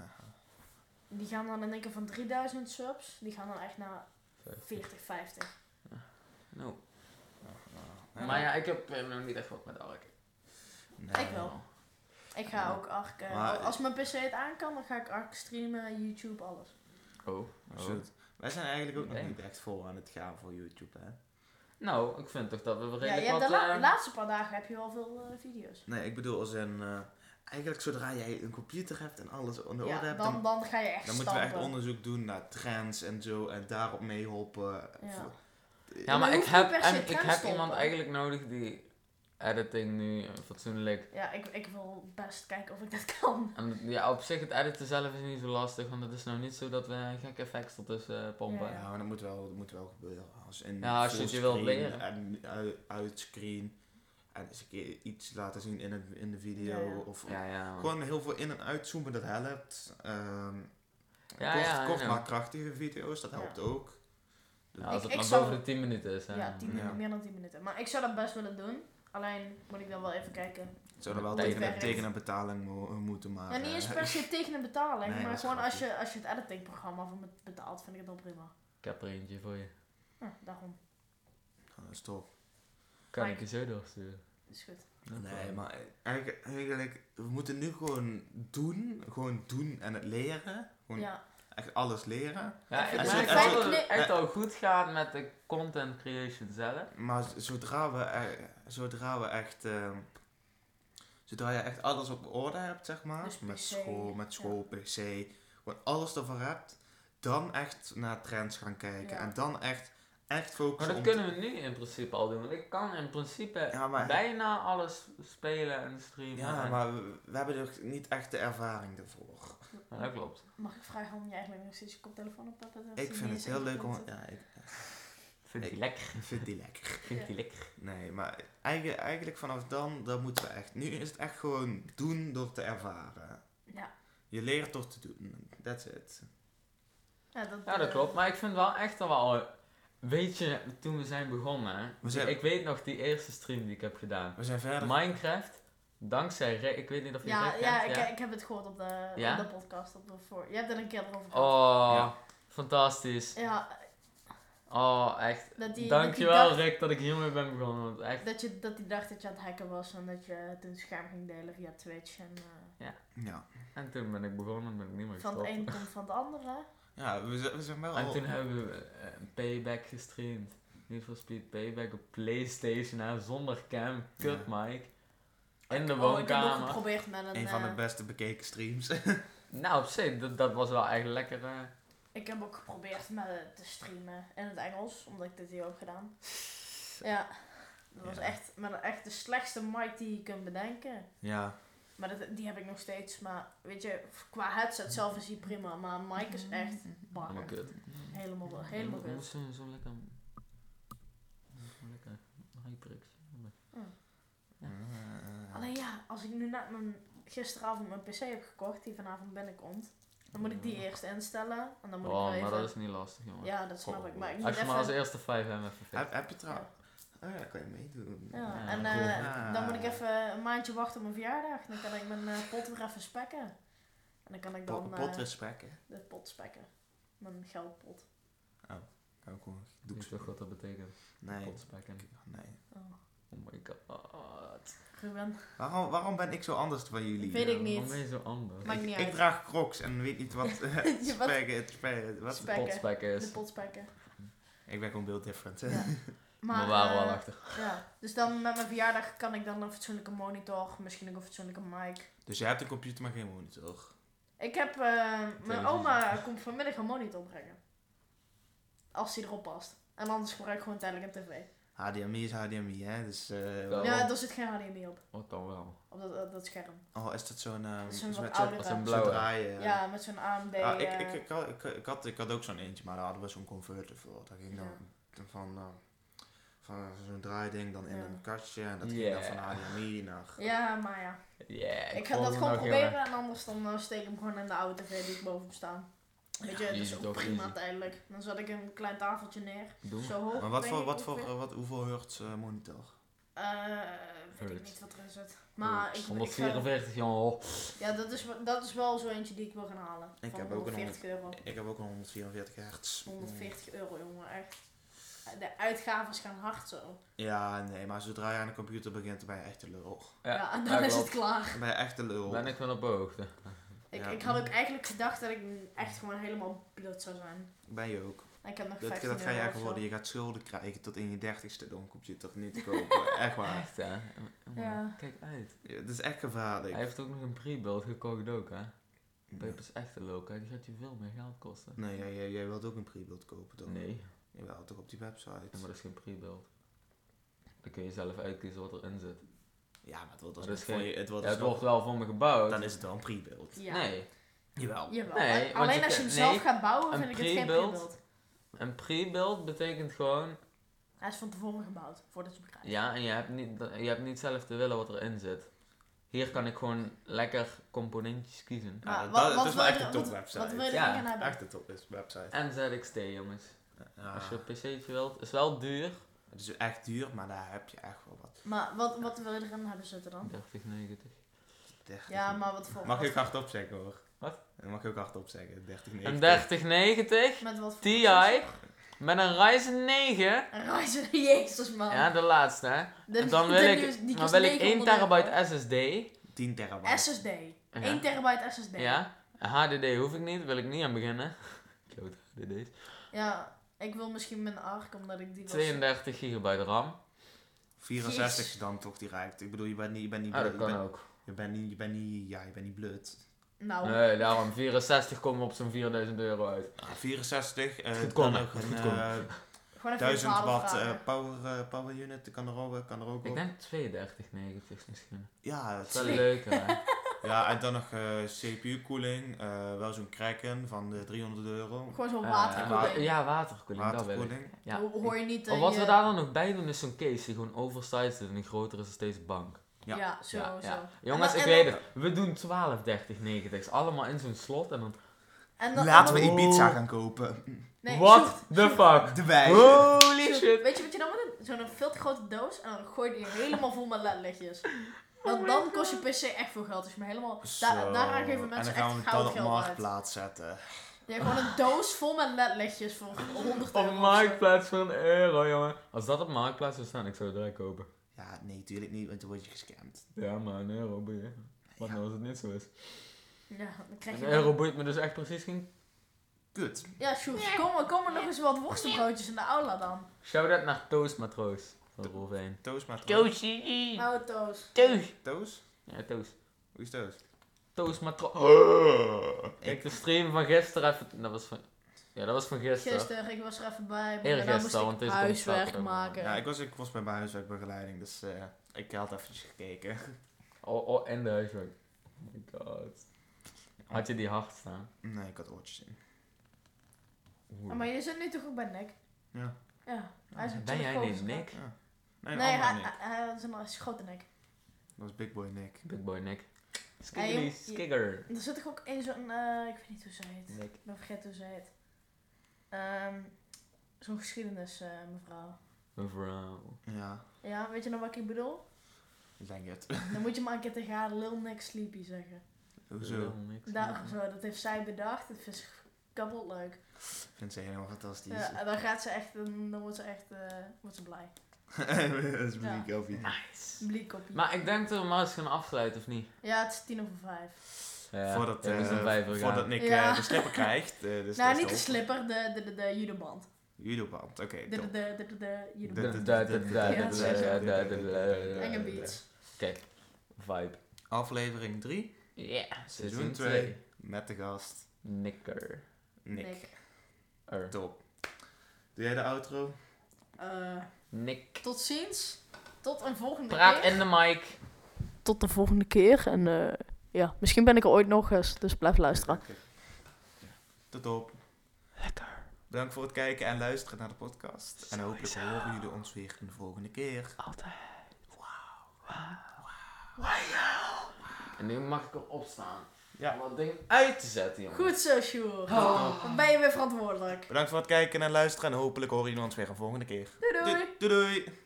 Die gaan dan in één keer van 3000 subs, die gaan dan echt naar 40, 50.
Nou,
Ja.
maar ja, ik heb eh, nog niet echt wat met Ark.
nee.
Ik wel. Ik ga
Ja.
ook Ark, eh,
Maar-
als mijn PC het aan kan, dan ga ik Ark streamen, YouTube, alles.
Oh,
Shoot. Wij zijn eigenlijk ook
Nee.
nog niet echt vol aan het gaan voor YouTube, hè?
Nou, ik vind toch dat we wel
Ja, je
redelijk
hebt de
wat...
la-
eh,
laatste paar dagen heb je wel veel eh, video's.
Nee, ik bedoel als een... eh, eigenlijk zodra jij een computer hebt en alles onder
Ja,
orde hebt,
dan,
dan,
dan ga je echt
dan moeten we
stampen.
echt onderzoek doen naar trends en zo en daarop meehelpen.
Ja.
Voor-
ja,
maar
maar
je
ik
hoeft niet
heb,
per se
en, ik
trends
heb
te
iemand
volgen.
eigenlijk nodig die editing nu eh, fatsoenlijk...
Ja, ik, ik wil best kijken of ik dat kan.
En ja, op zich, het editen zelf is niet zo lastig, want het is nou niet zo dat we gekke effects ertussen eh, pompen.
Ja, maar dat moet wel, dat moet wel gebeuren. Als, in
Ja, als je het je wilt
fullscreen
leren.
En uit, uitscreen. En eens een keer iets laten zien in, het, in de video.
Ja, ja.
Of
Ja, ja. want-
gewoon heel veel in- en uitzoomen, dat helpt. Ehm,
Ja,
kort
ja, I
kort
know.
maar krachtige video's, dat
Ja.
helpt ook.
Ja, Nou, als
Ik-
het
ik
maar
zou-
boven de 10 minuten is. hè.
Ja, 10 minuten,
Ja.
meer dan 10 minuten. Maar ik zou dat best willen doen. Alleen moet ik dan wel even kijken.
Ik zou er wel
Dat
tegen, een-
werkt.
tegen een betaling mo- eh, moeten maken.
nou, niet eens per se tegen een betaling,
Ah, Nee,
maar
dat is
gewoon als
grappig.
je, als je het editingprogramma voor me betaalt, vind ik het al prima.
Ik heb er eentje voor je.
Ja, daarom.
Dat is top.
Kan
Maar-
ik je zo doorsturen?
Is goed.
No
Nee,
problem.
maar eigenlijk, eigenlijk, we moeten nu gewoon doen. Gewoon doen en het leren. Gewoon
Ja,
echt alles leren.
Ja,
Ik
ik
vind
merk
het fijn
wel dat
kni-
het echt al goed gaat met de content creation zelf.
Maar z- zodra we, e- zodra we echt. ehm, zodra je echt alles op orde hebt, zeg maar.
Dus
met
PC,
school, met school, PC. Gewoon alles ervan hebt. Dan echt naar trends gaan kijken.
Ja.
En dan echt, echt focussen
Maar dat
om
kunnen we nu in principe al doen. Want ik kan in principe
Ja, maar-
bijna alles spelen en
te-
streamen.
Ja,
en-
maar we, we hebben nog niet echt de ervaring ervoor.
Ja, dat klopt.
Mag ik vragen waarom je eigenlijk nog steeds je koptelefoon op hebt? Dat is
Ik
niet
vind het
eens
heel leuk om.
ingeplant.
Ja, ik
Vind
Ik-
die lekker.
ik vind die lekker.
Vind
Ja.
die lekker.
Nee, maar eigenlijk, eigenlijk vanaf dan, dan moeten we echt. Nu is het echt gewoon doen door te ervaren.
Ja,
Je leert door te doen. That's it.
ja, dat,
Ja, dat
eh,
klopt. Maar ik vind wel echt al wel... Weet je, toen we zijn begonnen... hè,
We zijn-
Ik weet nog die eerste stream die ik heb gedaan.
We zijn verder.
Minecraft, dankzij... Rick- Ik weet niet of je
Ja,
Rick
ja,
kent,
ik,
ja?
ik heb het gehoord op de,
Ja?
op de podcast. Op de voor... Je hebt er een keer over gehad.
Oh,
Ja.
fantastisch.
Ja,
Oh, echt.
dat die,
Dankjewel
dat die
Rick dat ik hiermee ben begonnen. Want echt,
dacht, dat, je, dat die dacht dat je aan het hacken was en dat je toen scherm ging delen via Twitch. En, eh,
Ja.
en toen ben ik begonnen en ben ik niet meer
van het
gestopt.
een komt van het andere.
Ja, we, z- we zijn wel
En
al-
toen hebben we eh, Payback gestreamd. Need for Speed Payback op Playstation hè, zonder cam. Kut Mike. In de
Oh, ik heb ook
woonkamer.
geprobeerd met een...
een van de
eh,
beste bekeken streams.
Nou, op zich, dat, dat was wel echt lekker. eh.
ik heb ook geprobeerd met eh, te streamen in het Engels, omdat ik dit hier ook gedaan. Ja, dat was
Ja.
echt, maar dat- echt de slechtste mic die je kunt bedenken.
ja.
Maar dat, die heb ik nog steeds. Maar weet je, qua headset zelf is die prima. Maar mic is echt
Mm-hmm. Maar
bakken.
kut.
Helemaal, helemaal
Hoe- hoe
goed.
is Zo, zo lekker. Zo lekker. Hyperx.
Ah.
Alleen ja, als ik nu net mijn, gisteravond mijn pc heb gekocht, die vanavond binnenkomt. Dan moet ik die eerst instellen. En dan moet ik
Mm. Oh,
wel
maar
even...
dat is niet lastig, jongen.
Ja, dat snap ik. Maar ik moet
Als je maar als
even...
eerste 5 hem even fixen.
Heb, heb je trouwens... Oh ja, kan je meedoen.
Ja,
Ja,
en
cool.
eh,
Ja.
dan moet ik even een maandje wachten op mijn verjaardag. Dan kan ik mijn eh, pot weer even spekken. En dan kan ik
Po-
dan eh,
Potresprekken.
de pot spekken. Mijn geldpot.
Kan ik gewoon...
Ik
Doe ik
weet
zo.
toch wat dat betekent.
Nee.
Potspekken.
Nee.
Oh,
Oh my god.
Ruben.
Waarom, waarom ben ik zo anders van jullie?
Weet ik niet.
Waarom ben je zo anders?
Maakt niet
ik
uit.
draag crocs en weet niet wat... eh,
Je wat-
spekken, het spekken, wat?
Spek-
Potspek
De
is.
pot spekken.
Ik ben gewoon heel different.
Ja.
Maar we waren
eh,
wel achter.
Ja, dus dan met mijn verjaardag kan ik dan een fatsoenlijke monitor, misschien ook een fatsoenlijke mic.
Dus je hebt een computer, maar geen monitor.
Ik heb, eh, mijn
Televisie.
oma komt vanmiddag een monitor brengen. Als die erop past. En anders gebruik ik gewoon tijdelijk een tv.
HDMI is HDMI, hè? Dus, eh,
Ja. Oh.
Ja, daar zit geen HDMI op.
Wat Oh, dan wel?
Op dat, dat, dat scherm.
Oh, is dat zo'n... ehm
Dat is zo'n wat
met
oudere.
Als een
zo'n
blauwe.
draaien?
Ja, met zo'n AMD.
Ja,
eh,
Ah, ik, ik, ik, had, ik, ik had, ik had ook zo'n eentje, maar daar hadden we zo'n converter voor. Daar ging
Ja.
dan van, eh, van zo'n draaiding dan in
Ja.
een kastje en dat
Ja.
ging dan van HDMI naar...
ja, maar ja.
Yeah,
Ik, ga dat gewoon
nou
proberen en anders dan eh, steek ik hem gewoon in de oude tv die ik bovenop staan. Weet je, dat
easy
is ook
toch,
prima
easy.
tijdelijk. Dan zet ik een klein tafeltje neer.
Doe maar.
Zo hoog.
Maar wat
denk
voor,
ik
wat voor,
Oh, ongeveer.
eh, wat, hoeveel hertz eh, monitor?
Eh, weet ik
Hertz.
niet wat erin zit. Maar ik, ik ga,
144, jongen. Oh.
Ja, dat is, wa- dat is wel zo eentje die ik wil gaan halen.
Ik
van
heb ook een
140 euro.
Ik heb ook een 144 hertz.
140 euro, jongen, echt. De uitgaves gaan hard zo.
Ja, nee, maar zodra je aan de computer begint, ben je echt een lul.
Ja, en dan is het klaar.
Ben je echt een lul.
Ben ik wel op hoogte.
Ik,
Ja.
ik had ook eigenlijk gedacht dat ik echt gewoon helemaal blut zou zijn.
Ben je ook.
En Ik heb nog
Dat,
15
dat ga je
euro
echt
of zo.
worden. Je gaat schulden krijgen tot in je dertigste door een computer niet te kopen. echt waar.
Echt, hè? Jongen,
Ja.
Kijk uit.
Ja, Het is echt gevaarlijk.
Hij heeft ook nog een pre-build gekocht ook, hè?
Nee,
Peep is echt een low, kijk, die gaat je veel meer geld kosten.
Nee, jij, jij, jij wilt ook een pre-build kopen, toch?
Nee,
Jawel, toch op die
ja, maar
website.
dat is geen pre-build. Dan kun je zelf uitkiezen wat erin zit.
Ja, maar het wordt alsnog
Maar dat is
voor
geen-
je... Het wordt
Ja, het
alsnog-
wordt wel voor me gebouwd.
Dan is het wel een pre-build.
Ja.
Nee,
Jawel.
Jawel.
Nee,
Al-
want
Alleen
je
als je hem
kan-
zelf
nee,
gaat bouwen,
een
vind ik het geen
pre-build.
pre-build.
een pre-build betekent gewoon,
Hij is van tevoren gebouwd, voordat je hem krijgt.
ja, en je hebt, niet, je hebt niet zelf te willen wat erin zit. Hier kan ik gewoon lekker componentjes kiezen.
Ja,
Maar
dat-
wat-
dat
wat
is wel
wil
echt
je-
een top
wat-
website.
Wat wil je
Ja,
erin gaan hebben?
Echt een top is website.
En ZXT, jongens.
Ja.
Als je een pc'tje wilt. Is wel duur.
Het is echt duur, maar daar heb je echt wel wat.
Maar wat, wat wil je erin hebben zitten dan?
3090.
dertig-
Ja, maar wat voor...
Mag
wat
ik ook hardop zeggen hoor.
Wat?
Dat mag ik ook hardop zeggen. 30, 90.
Een 3090
voor- Met wat voor...
Ti
processor?
met een Ryzen 9.
Een Ryzen, jezus man.
Ja, de laatste hè.
Oh. De-
En dan
de
wil
nieuws-
ik,
die
dan
kost
wil ik 1
900 euro.
terabyte SSD.
10 terabyte.
SSD. 1
Ja.
terabyte SSD.
ja. HDD hoef ik niet, wil ik niet aan beginnen. Kloot HDD's.
Ja, ik wil misschien mijn ARC, omdat ik die... was-
32 gigabyte RAM.
64
Jezus.
is dan toch direct. Ik bedoel, je bent niet... Je bent niet
Ah,
blut.
dat
je,
kan
bent,
ook.
je bent niet... Je bent niet... Ja, je bent niet blut.
Nou,
Nee, daarom 64 komen we op zo'n 4000 euro uit.
Ah, 64. eh
Goed
dan
komen,
ook een
goed
eh,
komen.
gewoon even
1000
je
watt
vragen.
eh, power, eh, power unit. Dat kan er ook, kan er ook
Ik
op.
denk 3290 misschien.
Ja,
Dat
het-
is wel leuker hè.
ja, en dan nog eh, CPU-koeling. eh, wel zo'n Kraken van de 300 euro.
Gewoon zo'n
Eh,
waterkoeling.
wa- Ja, waterkoeling, dat wil ik.
Waterkoeling.
Ja.
Ho- Hoor je niet... eh,
Of wat
je-
we daar dan nog bij doen is zo'n case die gewoon oversized is en die groter is dan deze bank.
Ja.
Ja, zo,
Ja,
zo.
ja. Jongens,
En dan-
ik
en
weet het. We doen 12 30 90's allemaal in zo'n slot en dan...
En dan-
Laten we
Oh.
Ibiza gaan kopen.
Nee,
What
zoek-
the
zoek-
fuck?
De wijn.
Holy
Zo,
shit.
Weet je wat je dan moet doen? Zo'n veel te grote doos en dan gooi je die helemaal vol met ledlichtjes.
Oh
Want dan kost je PC echt veel geld. Dus je me helemaal, da
Zo.
daaraan geven
En dan
mensen
gaan
echt
we het
goud
dan op
geld uit.
marktplaats zetten.
Je hebt gewoon een doos vol met ledlichtjes voor 100
Op
Oh
euro.
een marktplaats van een euro, jongen. Als dat op marktplaats zou staan, ik zou het direct kopen.
Ja, nee, tuurlijk niet, want dan word je gescamd.
Ja, maar een euro boeit. Wat nou als het niet zo is?
Ja, dan krijg
Een
je...
euro boeit me dus echt precies geen...
Kut.
Ja, Sjoerd, kom, maar- kom er nog eens wat worstenbroodjes in de aula dan.
Shout-out naar Toast Matroos van Rolveen.
Toos maar Toos.
Toast.
Nou, Toos.
Toast.
Toos?
Ja, Toast.
Hoe is Toos?
Toast Matroos. Kijk,
Ik,
de stream van gisteren even... Dat was van... Ja, dat was van gisteren.
Gisteren, ik was er even bij. Maar daarna moest
Eergisteren,
ik
want deze komt
huiswerk
zaterdag.
maken.
ja, ik was, ik was bij mijn huiswerkbegeleiding, dus eh, ik had eventjes gekeken.
Oh, oh, en de huiswerk. Oh my god. Had je die hard staan?
Nee, ik had oortjes in.
Oeh.
Oh, maar je zit nu toch ook bij Nick?
Ja.
Ja. Hij is
ben jij niet
niet
Nick?
ja. Nee,
Nee,
een
hij,
andere Nick.
hij- hij is een hij is een grote Nick.
Dat was Big Boy Nick.
Big boy Nick.
Hey,
Skiggery,
joh.
skigger.
Er zit toch ook één zo'n, eh, ik weet niet hoe ze heet.
Nick.
Ik ben vergeten hoe ze heet. Ehm, zo'n geschiedenis, eh, mevrouw.
Mevrouw.
Ja,
Ja, weet je nou wat ik bedoel?
ik denk het.
Dan moet je maar een keer tegen haar Lil Nick Sleepy zeggen.
Hoezo?
Lil Nick.
Daarom zo, dat heeft zij bedacht. Dat vind ze kapot leuk.
Ik vind ze helemaal fantastisch.
Ja, en dan gaat ze echt, dan dan wordt ze echt, eh, wordt ze blij.
dat is
Ja.
muziek, Elfie.
Nice.
Blie koppie.
Maar ik denk dat we maar eens gaan afsluiten, of niet?
Ja, het is tien over vijf.
Ja,
Voordat,
ik moest
eh,
een vijver gaan.
voordat Nick eh,
Ja.
de slipper krijgt. eh, dus
nou,
dat is
niet de
top.
slipper, de, de, de, de judoband.
Judoband, oké.
De,
top.
de, de, de, de, de judoband.
Da- da- da- da- da- da- da- da- da- da-
Enge
da-
beats.
Kijk, vibe.
Aflevering 3
Yeah,
Seizoen twee. met de gast
Nicker.
Nick.
Nick.
Er.
Top. Doe jij de outro?
Eh,
Nick.
tot ziens. Tot een volgende
Praat
keer.
in de mic.
Tot de volgende keer. En eh, ja, misschien ben ik er ooit nog eens. Dus blijf luisteren.
Tot op.
Lekker.
Bedankt voor het kijken en luisteren naar de podcast. En hopelijk horen jullie ons weer een volgende keer.
Altijd. En nu mag ik erop staan.
Ja.
Om dat ding uit te zetten, jongen.
Goed zo, Sjoerd.
Oh.
Dan ben je weer verantwoordelijk.
Bedankt voor het kijken en luisteren. En hopelijk horen jullie ons weer een volgende keer.
Doei doei.
doei. doei.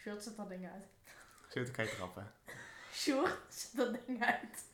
Sjoerd zet dat ding uit.
Zit te kijken, grappen.
Sjoerd zet dat ding uit.